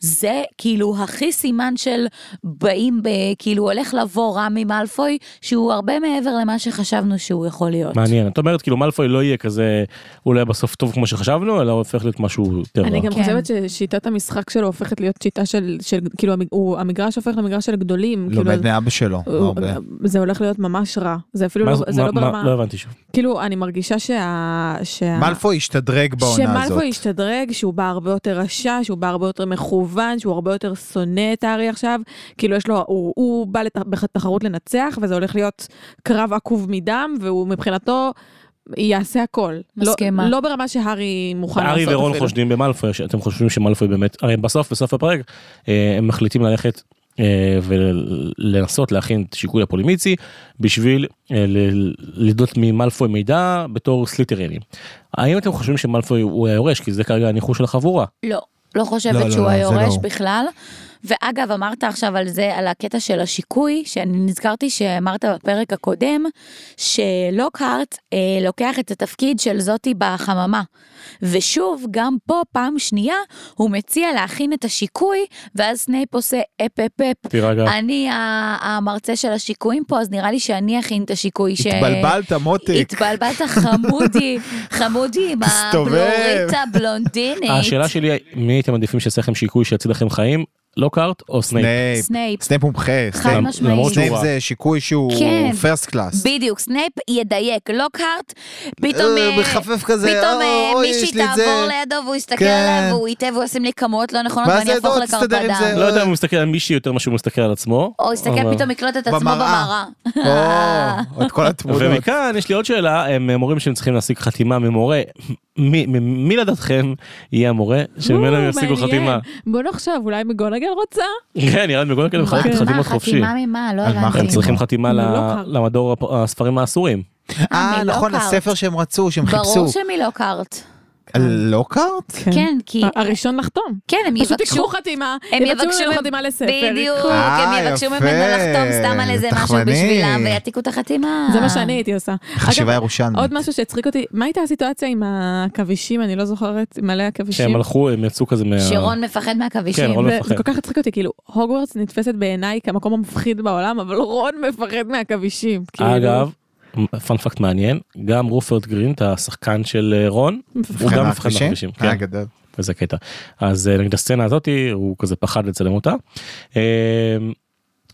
[SPEAKER 5] זה כאילו הכי סימן של באים, ב, כאילו הולך לבוא רמי מאלפוי, שהוא הרבה מעבר למה שחשבנו שהוא יכול להיות.
[SPEAKER 1] מעניין. את אומרת, כאילו, מאלפוי לא יהיה כזה, אולי בסוף טוב כמו שחשבנו, אלא הוא הופך להיות משהו יותר רע.
[SPEAKER 4] אני גם
[SPEAKER 5] כן.
[SPEAKER 4] חושבת ששיטת המשחק שלו הופכת להיות שיטה של, של כאילו המג- הוא- המגרש הופך למגרש של גדולים. כאילו,
[SPEAKER 3] לומד מאבא לא, שלו.
[SPEAKER 4] הוא-
[SPEAKER 3] הרבה.
[SPEAKER 4] זה הולך להיות ממש רע, זה אפילו
[SPEAKER 1] מה
[SPEAKER 4] לא,
[SPEAKER 1] זה-
[SPEAKER 4] זה
[SPEAKER 1] מה-
[SPEAKER 4] לא
[SPEAKER 1] מה-
[SPEAKER 4] ברמה,
[SPEAKER 1] לא הבנתי שוב.
[SPEAKER 4] כאילו אני מרגישה שה... שה...
[SPEAKER 3] מאלפוי השתדרג בעונה הזאת.
[SPEAKER 4] שמלפוי השתדרג, שהוא בא הרבה יותר רשע, שהוא בא הרבה יותר מכוון, שהוא הרבה יותר שונא את הארי עכשיו. כאילו יש לו, הוא, הוא בא לת- בתחרות לנצח, וזה הולך להיות קרב עקוב מדם, והוא מבחינתו יעשה הכל.
[SPEAKER 5] מסכימה.
[SPEAKER 4] לא, לא ברמה שהארי מוכן לעשות
[SPEAKER 1] הארי
[SPEAKER 4] אפילו.
[SPEAKER 1] ורון חושדים במאלפוי, אתם חושבים שמאלפוי באמת, הרי בסוף, בסוף הפרק, אה, הם מחליטים ללכת אה, ולנסות להכין את שיקוי הפולימיצי, בשביל אה, ל- לדלות ממאלפוי מידע בתור סליטרינים. האם אתם חושבים שמאלפוי הוא היורש? כי זה כרגע הניחוש של החבורה.
[SPEAKER 5] לא, לא חושבת
[SPEAKER 3] לא, לא,
[SPEAKER 5] שהוא
[SPEAKER 3] לא, זה
[SPEAKER 5] היורש
[SPEAKER 3] לא.
[SPEAKER 5] בכלל. ואגב, אמרת עכשיו על זה, על הקטע של השיקוי, שאני נזכרתי שאמרת בפרק הקודם, שלוקהרט אה, לוקח את התפקיד של זאתי בחממה. ושוב, גם פה, פעם שנייה, הוא מציע להכין את השיקוי, ואז סנייפ עושה אפ אפ אפ.
[SPEAKER 1] תירגע.
[SPEAKER 3] לא.
[SPEAKER 5] אני ה- המרצה של השיקויים פה, אז נראה לי שאני אכין את השיקוי. ש-
[SPEAKER 3] התבלבלת מותק.
[SPEAKER 5] התבלבלת חמודי, חמודי עם
[SPEAKER 3] הסתובב.
[SPEAKER 5] הבלורית הבלונדינית.
[SPEAKER 1] השאלה שלי, מי הייתם עדיפים שיעשה לכם שיקוי שיציל לכם חיים? לוקארט או סנייפ?
[SPEAKER 3] סנייפ.
[SPEAKER 5] סנייפ.
[SPEAKER 3] סנייפ מומחה.
[SPEAKER 5] חד
[SPEAKER 3] סנייפ.
[SPEAKER 1] למ-
[SPEAKER 5] משמעית.
[SPEAKER 1] למרות שהוא
[SPEAKER 3] סנייפ
[SPEAKER 1] רע.
[SPEAKER 3] זה שיקוי שהוא
[SPEAKER 5] כן.
[SPEAKER 3] פרסט קלאס.
[SPEAKER 5] בדיוק, סנייפ ידייק, לוקהרט, פתאום...
[SPEAKER 3] אה,
[SPEAKER 5] אה,
[SPEAKER 3] בחפף כזה,
[SPEAKER 5] פתאום אה,
[SPEAKER 3] אה, אוי,
[SPEAKER 5] מישהי
[SPEAKER 3] יש לי את זה.
[SPEAKER 5] תעבור לידו והוא יסתכל
[SPEAKER 3] כן.
[SPEAKER 5] עליו והוא יטעה והוא ישים לי כמויות לא נכונות
[SPEAKER 3] ואז
[SPEAKER 5] ואני
[SPEAKER 3] זה,
[SPEAKER 5] אהפוך
[SPEAKER 3] לא, תסתדר עם
[SPEAKER 5] לקרפדם.
[SPEAKER 1] לא יודע אם הוא מסתכל על מישהי יותר ממה שהוא מסתכל על עצמו.
[SPEAKER 5] או יסתכל
[SPEAKER 1] אבל-
[SPEAKER 5] פתאום יקלוט את עצמו במראה.
[SPEAKER 3] במראה. או, את כל התמונות.
[SPEAKER 1] ומכאן יש לי עוד שאלה, הם אומרים שהם צריכים להשיג חתימה ממורה. מי- מ- מי לדעתכם יהיה המורה שממנו הם
[SPEAKER 4] או,
[SPEAKER 1] ישיגו
[SPEAKER 4] מעניין.
[SPEAKER 1] חתימה?
[SPEAKER 4] בוא נחשוב, אולי מגונגל רוצה?
[SPEAKER 1] כן, נראה לי מגונן כאלה מחלק את
[SPEAKER 4] מה,
[SPEAKER 1] חתימות חופשי.
[SPEAKER 5] אה, חתימה ממה? לא
[SPEAKER 3] על מה
[SPEAKER 1] הם
[SPEAKER 5] הבנתי.
[SPEAKER 3] חתימה?
[SPEAKER 1] צריכים חתימה
[SPEAKER 4] לא
[SPEAKER 1] ל-
[SPEAKER 4] קר.
[SPEAKER 1] למדור הפ- הספרים האסורים.
[SPEAKER 3] אה, נכון,
[SPEAKER 5] מלוקהרט.
[SPEAKER 3] הספר שהם רצו, שהם חיפשו. אה, לא
[SPEAKER 5] ברור שמלוקהרט.
[SPEAKER 3] על לוקהרט?
[SPEAKER 5] כן, כי...
[SPEAKER 4] ה- הראשון לחתום.
[SPEAKER 5] כן, הם
[SPEAKER 4] פשוט
[SPEAKER 5] יבקשו
[SPEAKER 4] יקחו חתימה,
[SPEAKER 5] הם
[SPEAKER 4] יבקשו
[SPEAKER 5] יבקשו
[SPEAKER 4] ממנו
[SPEAKER 5] ממ-
[SPEAKER 4] חתימה לספר.
[SPEAKER 5] בדיוק,
[SPEAKER 4] יקחו.
[SPEAKER 5] הם
[SPEAKER 3] אה,
[SPEAKER 5] יבקשו
[SPEAKER 3] יפה.
[SPEAKER 5] ממנו לחתום סתם על איזה משהו
[SPEAKER 3] תחמני.
[SPEAKER 5] בשבילם ויעתיקו את החתימה.
[SPEAKER 4] זה מה שאני הייתי עושה.
[SPEAKER 3] חשיבה
[SPEAKER 4] אגב,
[SPEAKER 3] ירושלמית.
[SPEAKER 4] עוד משהו שהצחיק אותי, מה הייתה הסיטואציה עם הכבישים? אני לא זוכרת, מלא הכבישים.
[SPEAKER 1] שהם הלכו, הם יצאו כזה מה...
[SPEAKER 5] שרון מפחד
[SPEAKER 1] כן,
[SPEAKER 5] מהכבישים.
[SPEAKER 1] רון- לא
[SPEAKER 4] זה
[SPEAKER 1] מפחד.
[SPEAKER 4] זה כל כך הצחיק אותי, כאילו, הוגוורטס נתפסת בעיניי כמקום המפחיד בעולם, אבל רון מפחד מהכבישים. כאילו.
[SPEAKER 1] אגב, פאנפקט מעניין, גם רופרט גרין, השחקן של אה, רון,
[SPEAKER 4] מפחד
[SPEAKER 1] הוא גם
[SPEAKER 3] מבחינה
[SPEAKER 1] מפחד מהכבישים.
[SPEAKER 3] אה,
[SPEAKER 1] כן.
[SPEAKER 3] גדול.
[SPEAKER 1] איזה קטע. אז אה, נגיד הסצנה הזאתי הוא כזה פחד לצלם אותה. אה,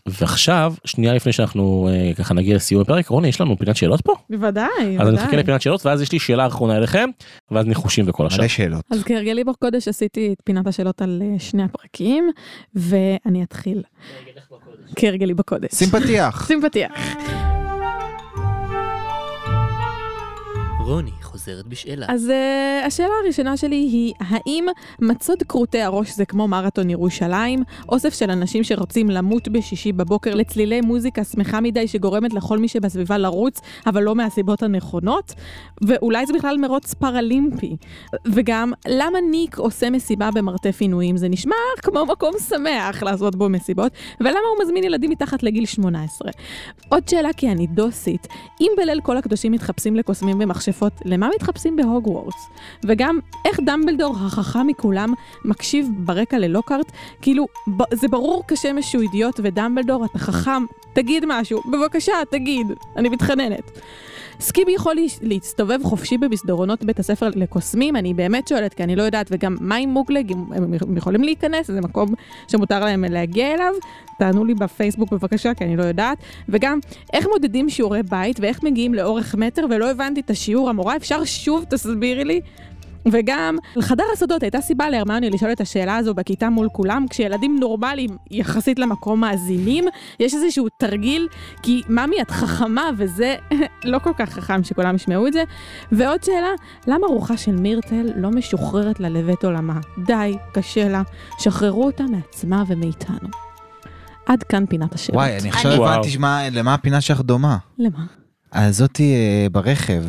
[SPEAKER 1] ועכשיו שנייה לפני שאנחנו אה, ככה נגיע לסיום הפרק רוני יש לנו פינת שאלות פה
[SPEAKER 4] בוודאי,
[SPEAKER 1] אז אני מחכה
[SPEAKER 4] בוודאי.
[SPEAKER 1] לפינת שאלות ואז יש לי שאלה אחרונה אליכם ואז ניחושים וכל השאר.
[SPEAKER 3] מלא שאלות.
[SPEAKER 4] אז כהרגלי בקודש עשיתי את פינת השאלות על אה, שני הפרקים, ואני אתחיל.
[SPEAKER 1] כן.
[SPEAKER 4] כהרגלי בקודש.
[SPEAKER 3] שים פתיח.
[SPEAKER 4] שים פתיח.
[SPEAKER 2] רוני חוזרת בשאלה.
[SPEAKER 4] אז uh, השאלה הראשונה שלי היא, האם מצוד כרותי הראש זה כמו מרתון ירושלים? אוסף של אנשים שרוצים למות בשישי בבוקר לצלילי מוזיקה שמחה מדי שגורמת לכל מי שבסביבה לרוץ, אבל לא מהסיבות הנכונות? ואולי זה בכלל מרוץ פרלימפי. וגם, למה ניק עושה מסיבה במרתף עינויים? זה נשמע כמו מקום שמח לעשות בו מסיבות, ולמה הוא מזמין ילדים מתחת לגיל 18? עוד שאלה כי אני דוסית, אם בליל כל הקדושים מתחפשים לקוסמים במכשפות, למה מתחפשים בהוגוורטס? וגם, איך דמבלדור החכם מכולם מקשיב ברקע ללוקארט? כאילו, ב- זה ברור כשמש שהוא אידיוט, ודמבלדור, אתה חכם, תגיד משהו, בבקשה, תגיד, אני מתחננת. סקיבי יכול להש- להסתובב חופשי במסדרונות בית הספר לקוסמים, אני באמת שואלת, כי אני לא יודעת, וגם מה עם מוגלג, אם הם הם יכולים להיכנס, זה מקום שמותר להם להגיע אליו, תענו לי בפייסבוק בבקשה, כי אני לא יודעת. וגם, איך מודדים שיעורי בית ואיך מגיעים לאורך מטר ולא הבנתי את השיעור, המורה, אפשר שוב, תסבירי לי? וגם, לחדר הסודות הייתה סיבה להרמיוני לשאול את השאלה הזו בכיתה מול כולם, כשילדים נורמליים יחסית למקום מאזינים, יש איזשהו תרגיל, כי ממי את חכמה, וזה לא כל כך חכם שכולם ישמעו את זה. ועוד שאלה, למה רוחה של מירטל לא משוחררת לה לבית עולמה? די, קשה לה, שחררו אותה מעצמה ומאיתנו. עד כאן פינת השאלות.
[SPEAKER 3] וואי, אני עכשיו
[SPEAKER 5] אני-
[SPEAKER 3] הבנתי שמה- למה הפינה שלך דומה.
[SPEAKER 4] למה?
[SPEAKER 3] הזאתי אה, ברכב.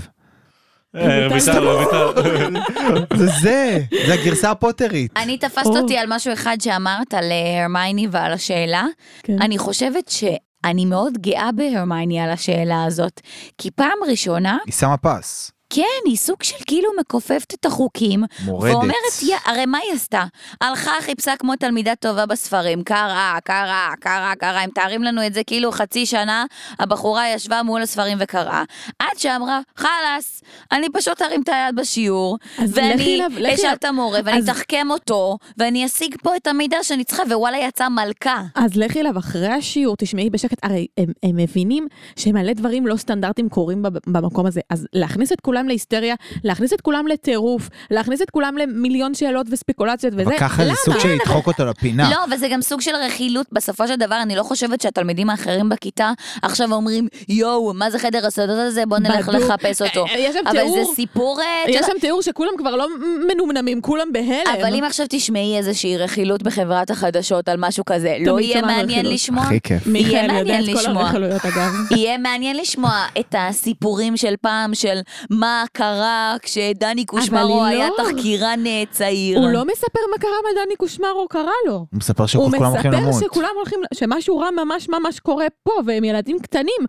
[SPEAKER 4] כאילו,
[SPEAKER 1] אה, רויטל,
[SPEAKER 3] לא
[SPEAKER 1] רויטל.
[SPEAKER 3] זה זה, זה הגרסה הפוטרית.
[SPEAKER 5] אני תפסת
[SPEAKER 4] או.
[SPEAKER 5] אותי על משהו אחד שאמרת על אה, הרמייני ועל השאלה.
[SPEAKER 4] כן.
[SPEAKER 5] אני חושבת שאני מאוד גאה בהרמייני על השאלה הזאת, כי פעם ראשונה,
[SPEAKER 3] היא שמה פס,
[SPEAKER 5] כן, היא סוג של כאילו מכופפת את החוקים,
[SPEAKER 3] מורדת.
[SPEAKER 5] ואומרת, "יא", הרי מה היא עשתה? הלכה, חיפשה כמו תלמידה טובה בספרים, קראה, קראה, קראה, קראה, הם מתארים לנו את זה כאילו חצי שנה, הבחורה ישבה מול הספרים וקראה. עד שאמרה, חלאס, אני פשוט ארים את היד בשיעור,
[SPEAKER 4] אז לכי
[SPEAKER 5] ואני
[SPEAKER 4] אליו- לכי
[SPEAKER 5] אשאל
[SPEAKER 4] אליו.
[SPEAKER 5] את המורה, ואני
[SPEAKER 4] אז-
[SPEAKER 5] אתחכם אותו, ואני אשיג פה את המידע שאני צריכה, ווואלה, יצאה מלכה.
[SPEAKER 4] אז לכי אליו אחרי השיעור, תשמעי בשקט, הרי הם, הם מבינים שמלא דברים לא סטנדרטיים קורים בב- במקום הזה. אז להכניס את כולם להיסטריה, להכניס את כולם לטירוף, להכניס את כולם למיליון שאלות וספקולציות וזה,
[SPEAKER 3] וככה זה
[SPEAKER 4] למה?
[SPEAKER 3] סוג של לדחוק אותו לפינה.
[SPEAKER 5] לא, וזה גם סוג של רכילות. בסופו של דבר, אני לא חושבת שהתלמידים האחרים בכיתה עכשיו אומרים, יואו, מה זה חדר הסודות הזה? בוא נלך
[SPEAKER 4] בדוק.
[SPEAKER 5] לחפש אותו.
[SPEAKER 4] אה, אה, יש שם
[SPEAKER 5] אבל
[SPEAKER 4] תיאור.
[SPEAKER 5] זה סיפור... אה,
[SPEAKER 4] יש
[SPEAKER 5] של-
[SPEAKER 4] שם תיאור שכולם כבר לא מנומנמים, כולם בהלם.
[SPEAKER 5] אבל אם עכשיו תשמעי איזושהי רכילות בחברת החדשות על משהו כזה, לא יהיה
[SPEAKER 4] שמענו
[SPEAKER 5] מעניין
[SPEAKER 4] רכילות.
[SPEAKER 5] לשמוע?
[SPEAKER 3] הכי כיף.
[SPEAKER 5] יהיה
[SPEAKER 4] מיכאל יודע
[SPEAKER 5] מעניין
[SPEAKER 4] את כל
[SPEAKER 5] לשמוע.
[SPEAKER 4] הרכילויות אגב.
[SPEAKER 5] יהיה מעניין לשמוע את הסיפורים של פעם, של מה קרה כשדני קושמרו
[SPEAKER 4] היא
[SPEAKER 5] היה
[SPEAKER 4] לא.
[SPEAKER 5] תחקירן אה, צעיר.
[SPEAKER 4] הוא לא מספר מה קרה מה דני קושמרו קרא לו.
[SPEAKER 3] הוא מספר
[SPEAKER 4] הוא
[SPEAKER 3] שכולם הולכים
[SPEAKER 4] מספר
[SPEAKER 3] למות.
[SPEAKER 4] שכולם הולכים, שמשהו רע ממש ממש קורה פה, והם ילדים קטנים.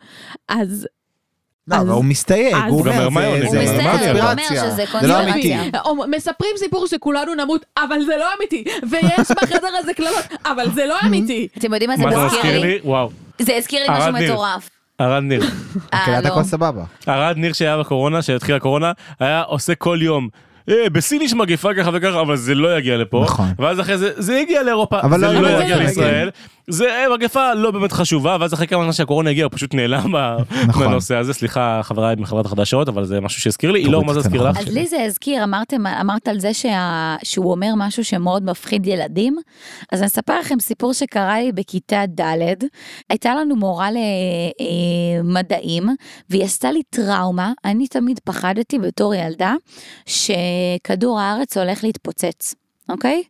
[SPEAKER 4] אז
[SPEAKER 3] לא, אבל הוא מסתייג,
[SPEAKER 4] אז-
[SPEAKER 3] הוא
[SPEAKER 4] הוא גם
[SPEAKER 3] אומר,
[SPEAKER 1] הרמיוני,
[SPEAKER 3] זה-
[SPEAKER 1] הוא
[SPEAKER 3] זה
[SPEAKER 1] מסתייג, הוא
[SPEAKER 5] אומר
[SPEAKER 3] קונספירציה.
[SPEAKER 5] שזה
[SPEAKER 3] זה לא
[SPEAKER 5] קונספירציה.
[SPEAKER 3] אמיתי.
[SPEAKER 4] או אה, מספרים סיפור שכולנו נמות, אבל זה לא אמיתי. ויש בחדר הזה קללות, אבל זה לא אמיתי.
[SPEAKER 5] אתם יודעים מה זה
[SPEAKER 1] מה זה
[SPEAKER 5] מזכיר
[SPEAKER 1] מזכיר
[SPEAKER 5] לי?
[SPEAKER 1] לי? וואו.
[SPEAKER 5] זה הזכיר לי
[SPEAKER 1] ערד
[SPEAKER 5] משהו
[SPEAKER 1] ניר.
[SPEAKER 5] מטורף.
[SPEAKER 1] ערד ניר.
[SPEAKER 5] אה,
[SPEAKER 3] מקהלת
[SPEAKER 5] לא.
[SPEAKER 3] הכל סבבה.
[SPEAKER 1] ערד ניר שהיה בקורונה, שהתחילה הקורונה, היה עושה כל יום. "אה, בסין יש מגפה ככה וככה, אבל זה לא יגיע לפה.
[SPEAKER 3] נכון.
[SPEAKER 1] ואז אחרי זה, זה הגיע לאירופה,
[SPEAKER 3] אבל
[SPEAKER 1] זה
[SPEAKER 3] לא
[SPEAKER 1] לא
[SPEAKER 4] יגיע
[SPEAKER 1] יגיע
[SPEAKER 4] לפה.
[SPEAKER 1] לישראל. זה אה, מגפה לא באמת חשובה, ואז אחרי כמה זמן שהקורונה הגיעה, הוא פשוט נעלם מה-
[SPEAKER 3] נכון.
[SPEAKER 1] מהנושא הזה. סליחה, חבריי מחברת החדשות, אבל זה משהו שהזכיר לי. אילור,
[SPEAKER 3] תוריד
[SPEAKER 1] מה זה
[SPEAKER 3] את
[SPEAKER 1] הזכיר
[SPEAKER 3] הנכון.
[SPEAKER 1] לך?
[SPEAKER 5] אז לי זה הזכיר, אמרתם, אמרת על זה שה, שהוא אומר משהו שמאוד מפחיד ילדים, אז אני אספר לכם סיפור שקרה לי בכיתה ד', הייתה לנו מורה למדעים, והיא עשתה לי טראומה, אני תמיד פחדתי בתור ילדה, שכדור הארץ הולך להתפוצץ, אוקיי?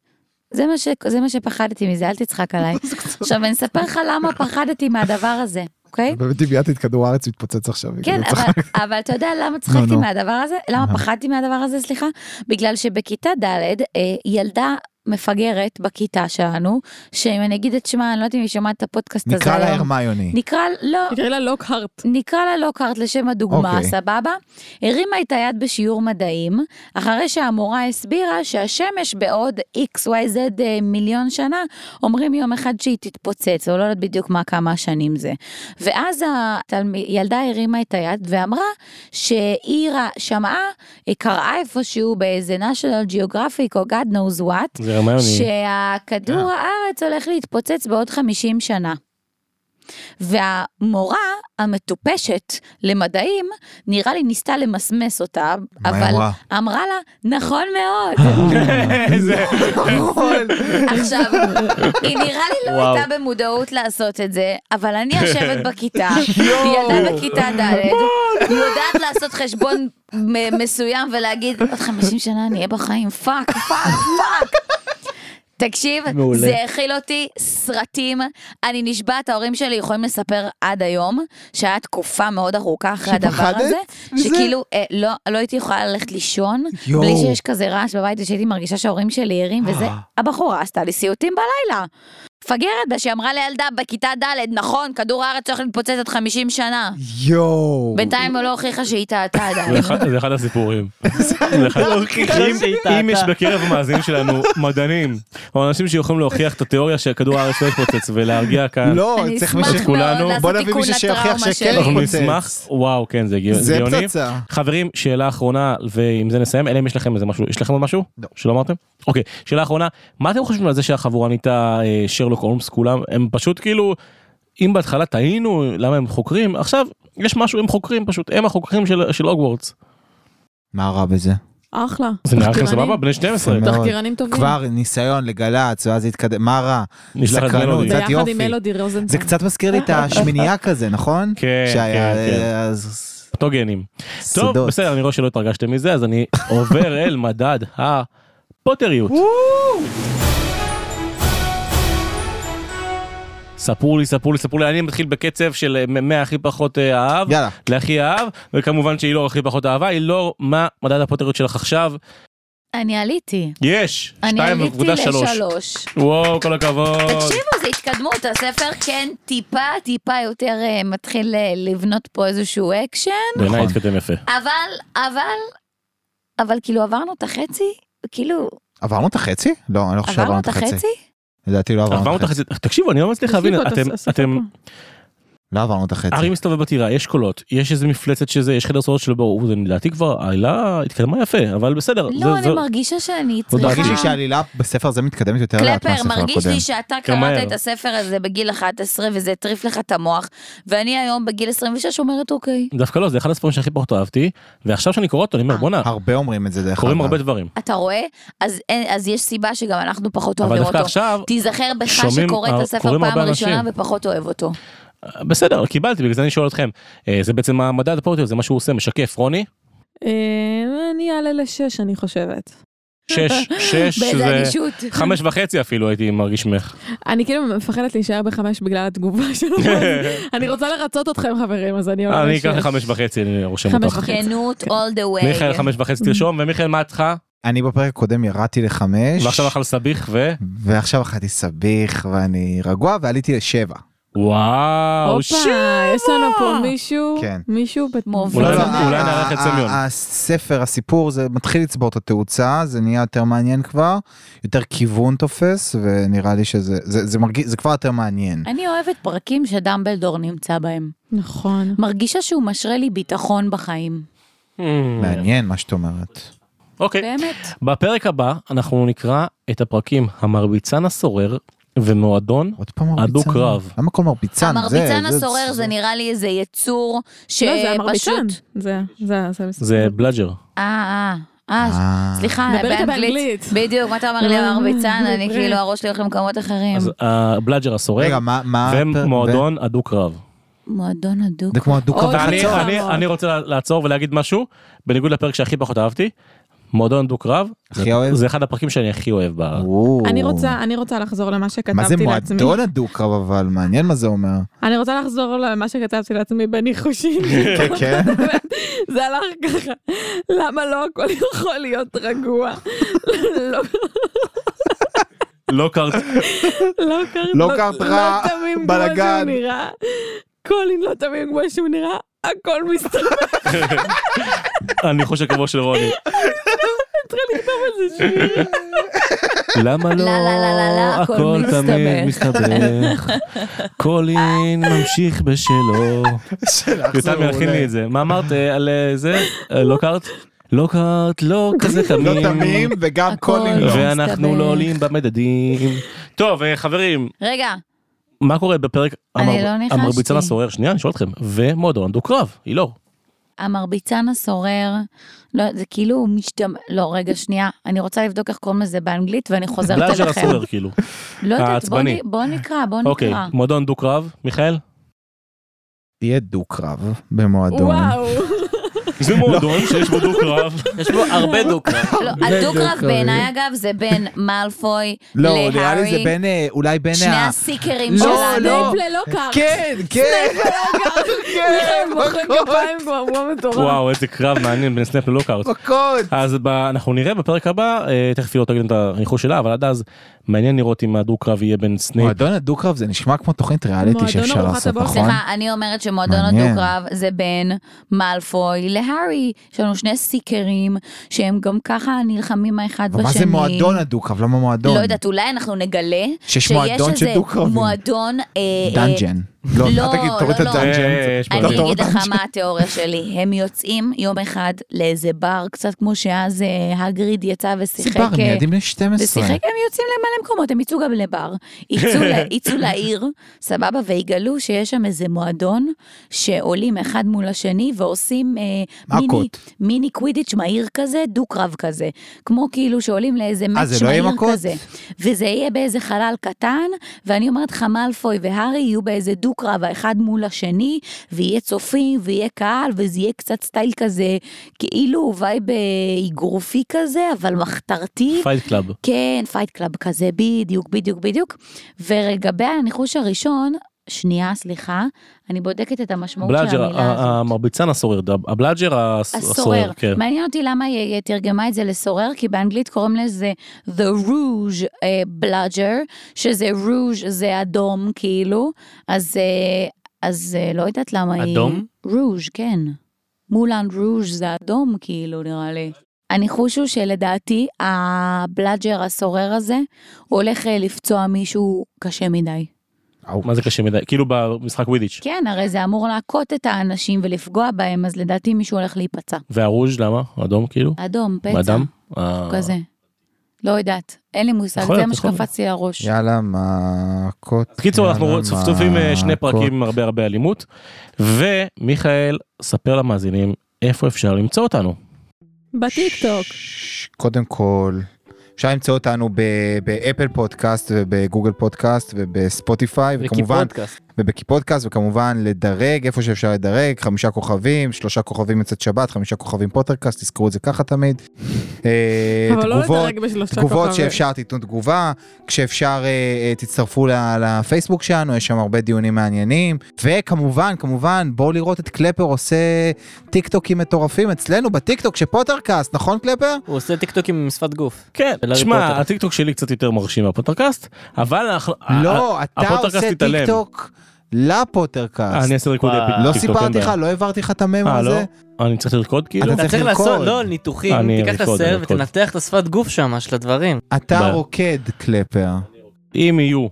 [SPEAKER 5] זה מה, ש... זה מה שפחדתי מזה, אל תצחק עליי. עכשיו אני אספר לך למה פחדתי מהדבר הזה, אוקיי?
[SPEAKER 6] באמת דמיינת את כדור הארץ מתפוצץ עכשיו.
[SPEAKER 5] כן,
[SPEAKER 6] כאילו, צריך-
[SPEAKER 5] אבל, אבל אתה יודע למה צחקתי
[SPEAKER 3] נו.
[SPEAKER 5] מהדבר הזה? למה
[SPEAKER 3] אהה.
[SPEAKER 5] פחדתי מהדבר הזה, סליחה? בגלל שבכיתה ד' אה, ילדה מפגרת בכיתה שלנו, שאם אני אגיד את שמה, אני לא יודעת אם היא שומעת את הפודקאסט הזה
[SPEAKER 3] נקרא לה
[SPEAKER 5] היום.
[SPEAKER 3] הרמיוני.
[SPEAKER 5] נקרא, לא,
[SPEAKER 4] תקראי לה לוקהרט.
[SPEAKER 5] נקרא לה לוקהרט לשם הדוגמה, okay.
[SPEAKER 3] אוקיי.
[SPEAKER 5] סבבה? הרימה את היד בשיעור מדעים, אחרי שהמורה הסבירה שהשמש בעוד XYZ אה, מיליון שנה, אומרים יום אחד שהיא תתפוצץ, או לא יודעת בדיוק מה כמה שנים זה. ואז הילדה הרימה את היד ואמרה שהיא רא- שמעה, היא קראה איפשהו באיזה national geographic או God knows what,
[SPEAKER 1] זה הרמיוני.
[SPEAKER 5] שהכדור הארץ הולך להתפוצץ בעוד 50 שנה. והמורה המטופשת למדעים, נראה לי ניסתה למסמס אותה,
[SPEAKER 3] היא
[SPEAKER 5] אבל
[SPEAKER 3] אמרה?
[SPEAKER 5] אמרה לה, נכון מאוד.
[SPEAKER 1] איזה-
[SPEAKER 5] עכשיו, היא נראה לי לא הייתה במודעות לעשות את זה, אבל אני יושבת בכיתה, ילדה בכיתה ד', יודעת לעשות חשבון מ- מסוים ולהגיד, עוד 50 שנה אני אהיה בחיים, פאק, פאק, פאק. תקשיב,
[SPEAKER 2] מעולה.
[SPEAKER 5] זה הכיל אותי סרטים, אני נשבעת, ההורים שלי יכולים לספר עד היום, שהיה תקופה מאוד ארוכה אחרי הדבר
[SPEAKER 6] שפחדת
[SPEAKER 5] הזה,
[SPEAKER 6] מזה?
[SPEAKER 5] שכאילו אה, לא- לא הייתי יכולה ללכת לישון, בלי
[SPEAKER 3] יואו.
[SPEAKER 5] שיש כזה רעש בבית ושהייתי מרגישה שההורים שלי ערים וזה, הבחורה עשתה לי סיוטים בלילה. מפגרת בה שאמרה לילדה בכיתה ד', נכון, כדור הארץ הולך להתפוצץ עוד 50 שנה.
[SPEAKER 6] יואו.
[SPEAKER 5] בינתיים היא לא הוכיחה שהיא טעתה
[SPEAKER 1] זה
[SPEAKER 5] עדיין.
[SPEAKER 1] אחד- זה אחד הסיפורים. זה אחד-
[SPEAKER 5] לא,
[SPEAKER 1] אם-
[SPEAKER 2] שהיא
[SPEAKER 1] אם
[SPEAKER 2] טעתה.
[SPEAKER 1] יש בקרב המאזינים שלנו מדענים או אנשים שיכולים להוכיח את התיאוריה שכדור הארץ לא יתפוצץ ולהרגיע כאן.
[SPEAKER 6] לא,
[SPEAKER 5] אני
[SPEAKER 6] צריך
[SPEAKER 5] אשמח
[SPEAKER 6] מישהו...
[SPEAKER 1] את כולנו.
[SPEAKER 5] מאוד
[SPEAKER 6] בוא
[SPEAKER 5] לעשות
[SPEAKER 6] נביא
[SPEAKER 5] תיקון
[SPEAKER 6] מישהו שיוכיח
[SPEAKER 5] לטראומה
[SPEAKER 6] שכן.
[SPEAKER 5] שלי.
[SPEAKER 1] אנחנו
[SPEAKER 6] פוצץ.
[SPEAKER 1] נשמח, וואו כן זה גאו-
[SPEAKER 6] זה
[SPEAKER 1] גאוני.
[SPEAKER 6] פצצה.
[SPEAKER 1] חברים, שאלה אחרונה, ועם זה נסיים, אלא אם יש לכם איזה משהו, יש לכם עוד משהו?
[SPEAKER 3] לא.
[SPEAKER 1] שלא אמרתם? אוקיי, שאלה אחרונה, מה אתם חושבים על זה שהחבורה נהייתה אה, שרלוק הולמס כולם, הם פשוט כאילו, אם בהתחלה טעינו, למה הם חוקרים, עכשיו יש משהו, הם חוקרים פשוט, הם החוקרים של, של הוגוורטס.
[SPEAKER 3] מה רע בזה?
[SPEAKER 4] אחלה.
[SPEAKER 1] זה נראה לכם
[SPEAKER 4] תחקירנים-
[SPEAKER 1] סבבה? בני 12.
[SPEAKER 3] מאוד.
[SPEAKER 4] תחקירנים טובים.
[SPEAKER 3] כבר ניסיון לגל"צ, ואז התקדם, מה רע?
[SPEAKER 1] ניסן
[SPEAKER 3] לקרנות.
[SPEAKER 1] מלודי.
[SPEAKER 3] קצת
[SPEAKER 4] ביחד
[SPEAKER 3] יופי.
[SPEAKER 4] עם מלודי רוזנצל.
[SPEAKER 3] זה קצת מזכיר לי את השמינייה כזה, נכון?
[SPEAKER 1] כן,
[SPEAKER 3] שהיה,
[SPEAKER 1] כן, כן.
[SPEAKER 3] אה, אז-
[SPEAKER 1] פתוגנים. טוב,
[SPEAKER 3] סודות.
[SPEAKER 1] בסדר, אני רואה שלא התרגשתם מזה, אז אני עובר אל מדד הפוטריות. ספרו לי, ספרו לי, ספרו לי, אני מתחיל בקצב של אה, מ- מהכי פחות אה, אהב,
[SPEAKER 3] יאללה.
[SPEAKER 1] להכי אהב, וכמובן שהיא לא הכי פחות אהבה, היא לא מה מדד הפוטריות שלך עכשיו,
[SPEAKER 5] אני עליתי.
[SPEAKER 1] יש,
[SPEAKER 5] אני
[SPEAKER 1] 2.3.
[SPEAKER 5] עליתי לשלוש.
[SPEAKER 1] וואו, כל הכבוד.
[SPEAKER 5] תקשיבו, זה התקדמות, הספר כן טיפה, טיפה יותר אה, מתחיל אה, לבנות פה איזשהו אקשן,
[SPEAKER 1] בעיניי
[SPEAKER 3] נכון.
[SPEAKER 1] התקדם יפה.
[SPEAKER 5] אבל, אבל, אבל כאילו עברנו את החצי, כאילו,
[SPEAKER 3] עברנו את החצי? לא, אני לא חושב
[SPEAKER 5] עברנו את החצי?
[SPEAKER 3] לדעתי לא עברנו את החצי.
[SPEAKER 1] תקשיבו, אני לא מצליח
[SPEAKER 4] יש לי
[SPEAKER 1] להבין,
[SPEAKER 4] פה את
[SPEAKER 1] אתם-
[SPEAKER 4] הספר
[SPEAKER 1] אתם,
[SPEAKER 4] פה.
[SPEAKER 3] לא עברנו את
[SPEAKER 1] ארי
[SPEAKER 3] החצי.
[SPEAKER 1] מסתובב בטירה, יש קולות, יש איזה מפלצת שזה, יש חדר סודות שלא ברור, זה לדעתי כבר, העילה התקדמה יפה, אבל בסדר. זה-
[SPEAKER 5] לא, אני
[SPEAKER 1] זה-
[SPEAKER 5] מרגישה שאני
[SPEAKER 3] עוד
[SPEAKER 5] צריכה...
[SPEAKER 3] מרגיש לי שהעלילה בספר הזה מתקדמת יותר לאט
[SPEAKER 5] קלפר,
[SPEAKER 3] מהספר
[SPEAKER 5] מרגיש
[SPEAKER 3] הקודם.
[SPEAKER 5] לי שאתה
[SPEAKER 1] גם מהר.
[SPEAKER 5] קראת את הספר הזה בגיל 11 וזה הטריף לך את המוח, ואני היום בגיל 26 אומרת אוקיי.
[SPEAKER 1] דווקא לא, זה אחד הספרים שהכי פחות אהבתי, ועכשיו שאני קורא אותו, אני אומר,
[SPEAKER 5] אה.
[SPEAKER 1] בואנה,
[SPEAKER 3] הרבה אומרים את זה דרך
[SPEAKER 1] קוראים
[SPEAKER 3] אגב.
[SPEAKER 1] הרבה דברים.
[SPEAKER 5] אתה רואה? אז, אין, אז יש סיבה שגם אנחנו פחות
[SPEAKER 1] אבל
[SPEAKER 5] אוהבים
[SPEAKER 1] דווקא
[SPEAKER 5] אותו.
[SPEAKER 1] עכשיו,
[SPEAKER 5] תיזכר בך
[SPEAKER 1] שומעים-
[SPEAKER 5] שקורא את
[SPEAKER 1] אה,
[SPEAKER 5] הספר
[SPEAKER 1] קוראים
[SPEAKER 5] פעם
[SPEAKER 1] הרבה
[SPEAKER 5] ראשונה
[SPEAKER 1] אנשים.
[SPEAKER 5] ופחות אוהב אותו.
[SPEAKER 1] אה, בסדר, קיבלתי, בגלל זה אני שואל אתכם. אה, זה בעצם המדד הפורטיות, זה מה שהוא עושה, משקף, רוני?
[SPEAKER 4] אה, אני אעלה לשש, אני חושבת.
[SPEAKER 1] שש, שש,
[SPEAKER 5] באיזה
[SPEAKER 1] זה
[SPEAKER 5] אדישות.
[SPEAKER 1] חמש וחצי אפילו הייתי מרגיש ממך.
[SPEAKER 4] אני כאילו מפחדת להישאר בחמש בגלל התגובה שלו. אני רוצה לרצות אתכם, חברים, אז אני עולה
[SPEAKER 1] אני
[SPEAKER 4] לשש.
[SPEAKER 1] אקח לחמש וחצי, אני רושם
[SPEAKER 4] חמש
[SPEAKER 1] אותך.
[SPEAKER 4] וחצי.
[SPEAKER 5] כנות all the way.
[SPEAKER 1] מיכאל חמש וחצי תרשום, ומיכאל מה את צריכה?
[SPEAKER 3] אני בפרק הקודם ירדתי לחמש,
[SPEAKER 1] ועכשיו אכל סביח ו...
[SPEAKER 3] ועכשיו אכלתי סביח ואני רגוע ועליתי לשבע.
[SPEAKER 1] וואו, ש...
[SPEAKER 4] הופה, יש לנו פה מישהו,
[SPEAKER 3] כן.
[SPEAKER 4] מישהו בת-
[SPEAKER 5] מוביל.
[SPEAKER 1] אולי-
[SPEAKER 3] לא, לא,
[SPEAKER 1] אולי
[SPEAKER 3] ה-
[SPEAKER 1] נארח את
[SPEAKER 3] ה-
[SPEAKER 1] סמיון.
[SPEAKER 3] ה- הספר, הסיפור, זה מתחיל לצבור את התאוצה, זה נהיה יותר מעניין כבר, יותר כיוון תופס, ונראה לי שזה, זה זה מרגיש, זה כבר יותר מעניין.
[SPEAKER 5] אני אוהבת פרקים שדמבלדור נמצא בהם.
[SPEAKER 4] נכון.
[SPEAKER 5] מרגישה שהוא משרה לי ביטחון בחיים.
[SPEAKER 1] אה. Hmm.
[SPEAKER 3] מעניין מה שאת אומרת.
[SPEAKER 1] אוקיי.
[SPEAKER 5] באמת.
[SPEAKER 1] בפרק הבא אנחנו נקרא את הפרקים המרביצן הסורר ומועדון.
[SPEAKER 3] עוד פעם מרביצן?
[SPEAKER 1] הדו-קרב.
[SPEAKER 3] למה כל מרביצן? זה-
[SPEAKER 5] המרביצן
[SPEAKER 3] זה-
[SPEAKER 5] הסורר זה נראה לי איזה יצור שפשוט...
[SPEAKER 4] לא, זה המרביצן. זה, זה, זה,
[SPEAKER 1] זה בלאג'ר.
[SPEAKER 5] אה, אה, אה.
[SPEAKER 3] אה,
[SPEAKER 5] סליחה,
[SPEAKER 4] דבר איתה באנגלית.
[SPEAKER 5] בדיוק, מה אתה אומר לי
[SPEAKER 4] לא,
[SPEAKER 5] המרביצן? אני
[SPEAKER 4] זה-
[SPEAKER 5] כאילו, הראש שלי הולך למקומות אחרים.
[SPEAKER 1] אז הבלאג'ר הסורר
[SPEAKER 3] רגע, מה, מה... הפרק-
[SPEAKER 1] ומועדון הדו-קרב.
[SPEAKER 5] מועדון הדוק.
[SPEAKER 3] זה כמו הדו-קרב
[SPEAKER 4] עוד
[SPEAKER 1] ואני
[SPEAKER 3] חצור.
[SPEAKER 1] אני-
[SPEAKER 4] חמוד.
[SPEAKER 1] אני רוצה לע- לעצור ולהגיד משהו, בניגוד לפרק שהכי פחות אהבתי, מועדון הדו-קרב,
[SPEAKER 3] הכי
[SPEAKER 1] זה-
[SPEAKER 3] אוהב?
[SPEAKER 1] זה אחד הפרקים שאני הכי אוהב. ב-
[SPEAKER 3] וואו.
[SPEAKER 4] אני רוצה, אני רוצה לחזור למה
[SPEAKER 3] מה זה
[SPEAKER 4] שכתבתי לעצמי.
[SPEAKER 3] מועדון הדו-קרב אבל? מעניין מה זה אומר.
[SPEAKER 4] אני רוצה לחזור למה שכתבתי לעצמי בניחושים.
[SPEAKER 3] כן, כן.
[SPEAKER 4] זה הלך ככה. למה לא הכל יכול להיות רגוע? לא-
[SPEAKER 1] לא קראת,
[SPEAKER 4] לא קרט
[SPEAKER 3] לא קרט רע,
[SPEAKER 4] לא תמים כמו שהוא
[SPEAKER 3] בלגן.
[SPEAKER 4] נראה. קולין לא תמים כמו שהוא נראה, הכל מסתדר,
[SPEAKER 1] אני חושב כמו של רוני.
[SPEAKER 4] צריך לכתוב על זה שיר.
[SPEAKER 1] למה לא,
[SPEAKER 5] לא, הכל
[SPEAKER 1] הכל תמיד מסתבך. קולין ממשיך בשלו. יותם ילחין לי את זה. מה אמרת אה, על אה, זה? אה, לא קארט? לא קארט, לא כזה תמים.
[SPEAKER 3] לא תמים וגם
[SPEAKER 5] הכל.
[SPEAKER 3] קולין לא.
[SPEAKER 5] ו-
[SPEAKER 1] ואנחנו
[SPEAKER 5] מסתבך.
[SPEAKER 1] לא עולים במדדים. טוב, אה, חברים,
[SPEAKER 5] רגע,
[SPEAKER 1] מה קורה בפרק
[SPEAKER 5] אני
[SPEAKER 1] המר-
[SPEAKER 5] לא ניחשתי.
[SPEAKER 1] המרביצן הסורר? שנייה, אני שואל אתכם. ומועדון דו-קרב, היא לא.
[SPEAKER 5] המרביצן הסורר, לא, זה כאילו הוא משתמ... לא, רגע, שנייה, אני רוצה לבדוק איך קוראים לזה באנגלית ואני חוזרת
[SPEAKER 1] בלאג'ר
[SPEAKER 5] אליכם.
[SPEAKER 1] הסורר, כאילו.
[SPEAKER 5] לא יודעת, בוא,
[SPEAKER 1] העצבני.
[SPEAKER 5] נ... בוא נקרא, בוא
[SPEAKER 1] אוקיי,
[SPEAKER 5] נקרא.
[SPEAKER 1] מועדון דו-קרב, מיכאל?
[SPEAKER 3] תהיה דו-קרב במועדון.
[SPEAKER 4] וואו.
[SPEAKER 1] זה מועדון שיש בו דו-קרב.
[SPEAKER 2] יש פה הרבה דוקרב.
[SPEAKER 5] לא,
[SPEAKER 3] זה
[SPEAKER 5] הדו-קרב
[SPEAKER 3] דו-קרב.
[SPEAKER 5] בעיניי, אגב, זה בין מאלפוי
[SPEAKER 3] לא, נראה לי זה
[SPEAKER 5] להארי,
[SPEAKER 3] בין, אה, אולי בין
[SPEAKER 5] שני
[SPEAKER 3] ה...
[SPEAKER 5] הסיקרים
[SPEAKER 3] לא,
[SPEAKER 5] שלנו.
[SPEAKER 3] לא.
[SPEAKER 4] סנייפ ללא קארט.
[SPEAKER 3] כן, כן,
[SPEAKER 4] מיכאל
[SPEAKER 3] כן,
[SPEAKER 4] מוחא
[SPEAKER 3] מכות,
[SPEAKER 4] כפיים כבר, כמו מטורף.
[SPEAKER 1] וואו, איזה קרב מעניין בין סנאפ ללא קארט.
[SPEAKER 3] מכות.
[SPEAKER 1] אז ב- אנחנו נראה בפרק הבא, אה, תכף היא לא תגיד לנו את הניחוש שלה, אבל עד אז מעניין לראות אם הדו-קרב יהיה בין סנייפ.
[SPEAKER 3] מועדון הדו-קרב זה נשמע כמו תוכנית ריאליטי
[SPEAKER 4] מועדון
[SPEAKER 3] שאפשר
[SPEAKER 4] ארוחת
[SPEAKER 3] לעשות,
[SPEAKER 4] הבוקר.
[SPEAKER 3] נכון?
[SPEAKER 5] סליחה, אני אומרת שמועדון
[SPEAKER 3] מעניין.
[SPEAKER 5] הדו-קרב זה בין מאלפוי להארי. יש לנו שני סיקרים שהם גם ככה נלחמים האחד בשני.
[SPEAKER 3] ומה זה מועדון הדו-קרב? למה מועדון?
[SPEAKER 5] לא יודעת, אולי אנחנו נגלה
[SPEAKER 3] שיש מועדון של
[SPEAKER 5] שיש איזה
[SPEAKER 3] דו-קרבים.
[SPEAKER 5] מועדון... אה, אה,
[SPEAKER 3] דאנג'ן. לא,
[SPEAKER 5] לא,
[SPEAKER 3] אל תגיד, תוריד את
[SPEAKER 5] לא,
[SPEAKER 3] זה
[SPEAKER 5] לא.
[SPEAKER 3] אנג'ל.
[SPEAKER 1] אה, יש בעיה.
[SPEAKER 5] אני
[SPEAKER 6] דוקטור
[SPEAKER 5] אגיד לך
[SPEAKER 6] אורבנג'ה.
[SPEAKER 5] מה התיאוריה שלי, הם יוצאים יום אחד לאיזה בר, קצת כמו שאז אה, הגריד יצא ושיחק.
[SPEAKER 3] סיפר, הם
[SPEAKER 5] אה,
[SPEAKER 3] ילדים בני 12.
[SPEAKER 5] ושיחק, הם יוצאים למלא מקומות, הם יצאו גם לבר. יצאו, ל- יצאו לעיר, סבבה, ויגלו שיש שם איזה מועדון שעולים אחד מול השני ועושים אה, מיני,
[SPEAKER 3] מכות.
[SPEAKER 5] מיני קווידיץ' מהיר כזה, דו-קרב כזה. כמו כאילו שעולים לאיזה
[SPEAKER 3] אה,
[SPEAKER 5] מאץ'
[SPEAKER 3] זה לא יהיה
[SPEAKER 5] מהיר
[SPEAKER 3] מכות?
[SPEAKER 5] כזה. וזה יהיה באיזה חלל קטן, ואני אומרת לך, מאלפוי והארי יהיו באיזה דו-קרב האחד מול השני, ויהיה צופים, ויהיה קהל, וזה יהיה קצת סטייל כזה, כאילו וייב אה, אגרופי כזה, אבל מחתרתי.
[SPEAKER 1] פייט קלאב.
[SPEAKER 5] כן, פייט קלאב כזה, בדיוק, בדיוק, בדיוק. ולגבי הניחוש הראשון, שנייה, סליחה, אני בודקת את המשמעות של
[SPEAKER 1] בלאג'ר,
[SPEAKER 5] המילה
[SPEAKER 1] ה-
[SPEAKER 5] הזאת.
[SPEAKER 1] המרביצן הסורר, ד- הבלאג'ר הס-
[SPEAKER 5] הסורר.
[SPEAKER 1] הסורר, כן.
[SPEAKER 5] מעניין אותי למה היא היא תרגמה את זה לסורר, כי באנגלית קוראים לזה The Rouge אה, Bludger, שזה רווז' זה אדום כאילו, אז, אה, אז אה, לא יודעת למה היא...
[SPEAKER 1] אדום?
[SPEAKER 5] רוז', כן. מולן רוז' זה אדום כאילו, נראה לי. הניחוש הוא שלדעתי הבלאג'ר הסורר הזה הוא הולך אה, לפצוע מישהו קשה מדי. אה,
[SPEAKER 1] מה זה קשה מדי? כאילו במשחק ווידיץ'.
[SPEAKER 5] כן, הרי זה אמור להכות את האנשים ולפגוע בהם, אז לדעתי מישהו הולך להיפצע.
[SPEAKER 1] והרוז' למה? אדום כאילו?
[SPEAKER 5] אדום, פצע.
[SPEAKER 1] באדם? אה,
[SPEAKER 5] כזה. לא יודעת, אין לי מושג,
[SPEAKER 1] יכול
[SPEAKER 5] זה
[SPEAKER 1] להיות, נכון.
[SPEAKER 5] מה
[SPEAKER 1] יכול להיות.
[SPEAKER 5] שקפץ לי לראש.
[SPEAKER 3] יאללה, מכות.
[SPEAKER 1] בקיצור, אנחנו
[SPEAKER 3] יאללה,
[SPEAKER 1] צפצופים אה, שני
[SPEAKER 3] מכות.
[SPEAKER 1] פרקים עם הרבה הרבה אלימות. ומיכאל, ספר למאזינים איפה אפשר למצוא אותנו.
[SPEAKER 4] בטיקטוק.
[SPEAKER 3] ש- קודם כל, אפשר למצוא אותנו ב- באפל פודקאסט ובגוגל פודקאסט ובספוטיפיי, וכמובן, ובקי פודקאסט, וכמובן לדרג איפה שאפשר לדרג, חמישה כוכבים, שלושה כוכבים מצאת שבת, חמישה כוכבים פודקאסט, תזכרו את זה ככה תמיד. אה,
[SPEAKER 4] אבל לא
[SPEAKER 3] תגובות,
[SPEAKER 4] לדרג בשלושה כוכבים.
[SPEAKER 3] תגובות שאפשר תיתנו תגובה, כשאפשר אה, אה, תצטרפו ל- לפייסבוק שלנו, יש שם הרבה דיונים מעניינים, וכמובן, כמובן, בואו לראות את קלפר עושה טיקטוקים מטורפים אצלנו בטיקטוק של פוטרקאסט, נכון קלפר?
[SPEAKER 2] הוא עושה טיקטוקים עם שפת גוף.
[SPEAKER 1] כן,
[SPEAKER 2] של הארי
[SPEAKER 1] תשמע,
[SPEAKER 2] פוטר.
[SPEAKER 1] הטיקטוק שלי קצת יותר מרשים מהפודקאסט, אבל אה, אנחנו...
[SPEAKER 3] לא, אתה
[SPEAKER 1] הפוטרקאסט
[SPEAKER 3] עושה
[SPEAKER 1] התעלם.
[SPEAKER 3] טיקטוק
[SPEAKER 1] אה,
[SPEAKER 3] לפוטרקאסט.
[SPEAKER 1] אני אעשה ריקודי
[SPEAKER 2] וואי.
[SPEAKER 1] טיקטוק,
[SPEAKER 3] לא
[SPEAKER 1] אין
[SPEAKER 3] סיפרתי לך,
[SPEAKER 1] בעיה.
[SPEAKER 3] לא העברתי לך את הממו
[SPEAKER 1] אה,
[SPEAKER 3] הזה.
[SPEAKER 1] לא? אני צריך לרקוד כאילו?
[SPEAKER 3] אתה
[SPEAKER 2] אתה צריך
[SPEAKER 3] לרקוד.
[SPEAKER 2] לעשות, לא, ניתוחים,
[SPEAKER 1] אני
[SPEAKER 2] תיקח את
[SPEAKER 1] ארקוד,
[SPEAKER 2] הסרט
[SPEAKER 1] אני ארקוד.
[SPEAKER 2] ותנתח את השפת גוף שם של הדברים.
[SPEAKER 3] אתה
[SPEAKER 1] ב-
[SPEAKER 3] רוקד קלפר.
[SPEAKER 1] אם יהיו.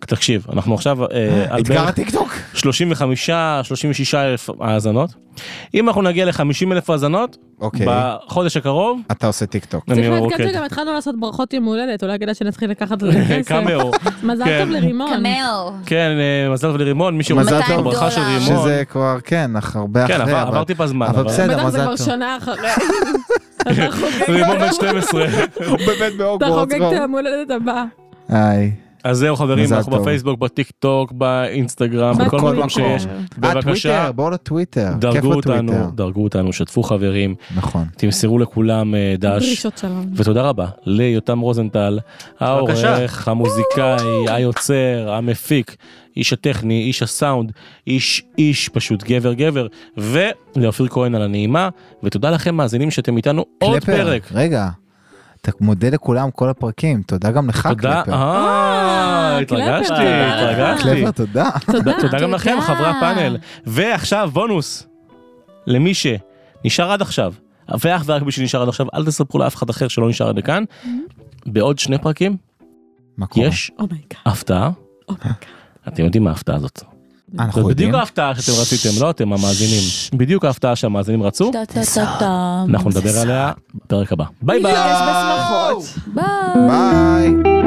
[SPEAKER 1] תקשיב, אנחנו עכשיו אה, על
[SPEAKER 3] אתגר
[SPEAKER 1] בערך
[SPEAKER 3] הטיקטוק?
[SPEAKER 1] 35, 36 אלף האזנות. אם אנחנו נגיע ל-50 אלף האזנות,
[SPEAKER 3] אוקיי,
[SPEAKER 1] בחודש הקרוב,
[SPEAKER 3] אתה עושה טיקטוק.
[SPEAKER 1] אני
[SPEAKER 4] צריך לעדכן
[SPEAKER 1] אוקיי.
[SPEAKER 4] שגם התחלנו לעשות ברכות יום הולדת, אולי כדאי שנתחיל לקחת על זה כסף.
[SPEAKER 1] קמאו.
[SPEAKER 4] מזל
[SPEAKER 1] כן.
[SPEAKER 4] טוב לרימון.
[SPEAKER 5] קמאו.
[SPEAKER 1] כן, אה, מזל טוב לרימון, מי
[SPEAKER 3] מזל
[SPEAKER 1] שרוצה
[SPEAKER 3] טוב.
[SPEAKER 1] ברכה של
[SPEAKER 5] 200
[SPEAKER 1] רימון.
[SPEAKER 3] שזה כבר, כן, אח- הרבה
[SPEAKER 1] כן,
[SPEAKER 3] אחרי,
[SPEAKER 1] עבר-
[SPEAKER 3] אבל
[SPEAKER 1] עבר טיפה זמן.
[SPEAKER 3] אבל בסדר.
[SPEAKER 4] בטח זה
[SPEAKER 3] מזל
[SPEAKER 4] כבר
[SPEAKER 3] טוב.
[SPEAKER 4] שנה אחרי. אתה חוגג-
[SPEAKER 1] רימון בן 12.
[SPEAKER 3] הוא באמת
[SPEAKER 4] אתה
[SPEAKER 3] בהוגוורטס.
[SPEAKER 4] חוגג את היום הולדת הבא.
[SPEAKER 3] היי.
[SPEAKER 1] אז זהו חברים,
[SPEAKER 3] מזל
[SPEAKER 1] אנחנו
[SPEAKER 3] טוב.
[SPEAKER 1] בפייסבוק, בטיקטוק, באינסטגרם,
[SPEAKER 4] בכל
[SPEAKER 1] בכל מקום
[SPEAKER 3] מקום.
[SPEAKER 1] שיש.
[SPEAKER 3] אה,
[SPEAKER 1] בבקשה,
[SPEAKER 3] טוויטר, בואו לטוויטר. כיף
[SPEAKER 1] דרגו אותנו,
[SPEAKER 3] בטוויטר.
[SPEAKER 1] דרגו אותנו, שתפו חברים,
[SPEAKER 3] נכון.
[SPEAKER 1] תמסרו לכולם אה, דש.
[SPEAKER 4] דרישות שלום.
[SPEAKER 1] ותודה רבה ליותם רוזנטל, העורך, המוזיקאי, היוצר, המפיק, איש הטכני, איש הסאונד, איש איש פשוט גבר גבר, ולאופיר כהן על הנעימה, ותודה לכם מאזינים שאתם איתנו עוד
[SPEAKER 3] קלפר,
[SPEAKER 1] פרק.
[SPEAKER 3] רגע, אתה מודה לכולם כל הפרקים, תודה גם לך
[SPEAKER 1] תודה,
[SPEAKER 3] קלפר.
[SPEAKER 1] אה,
[SPEAKER 4] אה,
[SPEAKER 1] התרגשתי,
[SPEAKER 4] קלפר, תודה לך.
[SPEAKER 1] התרגשתי.
[SPEAKER 3] קלפר, תודה.
[SPEAKER 4] תודה.
[SPEAKER 1] תודה גם לכם חברי הפאנל. ועכשיו בונוס למי שנשאר עד עכשיו, ואך ורק מי שנשאר עד עכשיו, אל תספרו לאף אחד אחר שלא נשאר עד כאן. בעוד שני פרקים
[SPEAKER 3] מה קורה?
[SPEAKER 1] יש
[SPEAKER 4] אומייגאד.
[SPEAKER 1] הפתעה.
[SPEAKER 4] אומייגאד.
[SPEAKER 1] אתם יודעים מה ההפתעה הזאת.
[SPEAKER 3] אה, אנחנו
[SPEAKER 1] זאת
[SPEAKER 3] יודעים?
[SPEAKER 1] בדיוק ההפתעה שאתם רציתם, לא אתם המאזינים. בדיוק ההפתעה שהמאזינים רצו,
[SPEAKER 5] טה-טה-טה-טם.
[SPEAKER 1] אנחנו נדבר עליה בפרק הבא. ביי ביי.
[SPEAKER 5] ניפגש בשמחות. ביי.
[SPEAKER 3] ביי.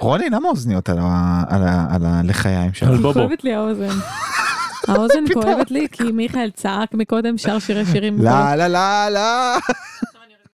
[SPEAKER 3] רוני, למה אוזניות על ה- על ה- על הלחיים שלך?
[SPEAKER 1] על בובו.
[SPEAKER 4] כואבת לי האוזן.
[SPEAKER 1] לא,
[SPEAKER 4] האוזן כואבת לי כי מיכאל צעק מקודם שר שירי שירים.
[SPEAKER 3] לה לה לה לה.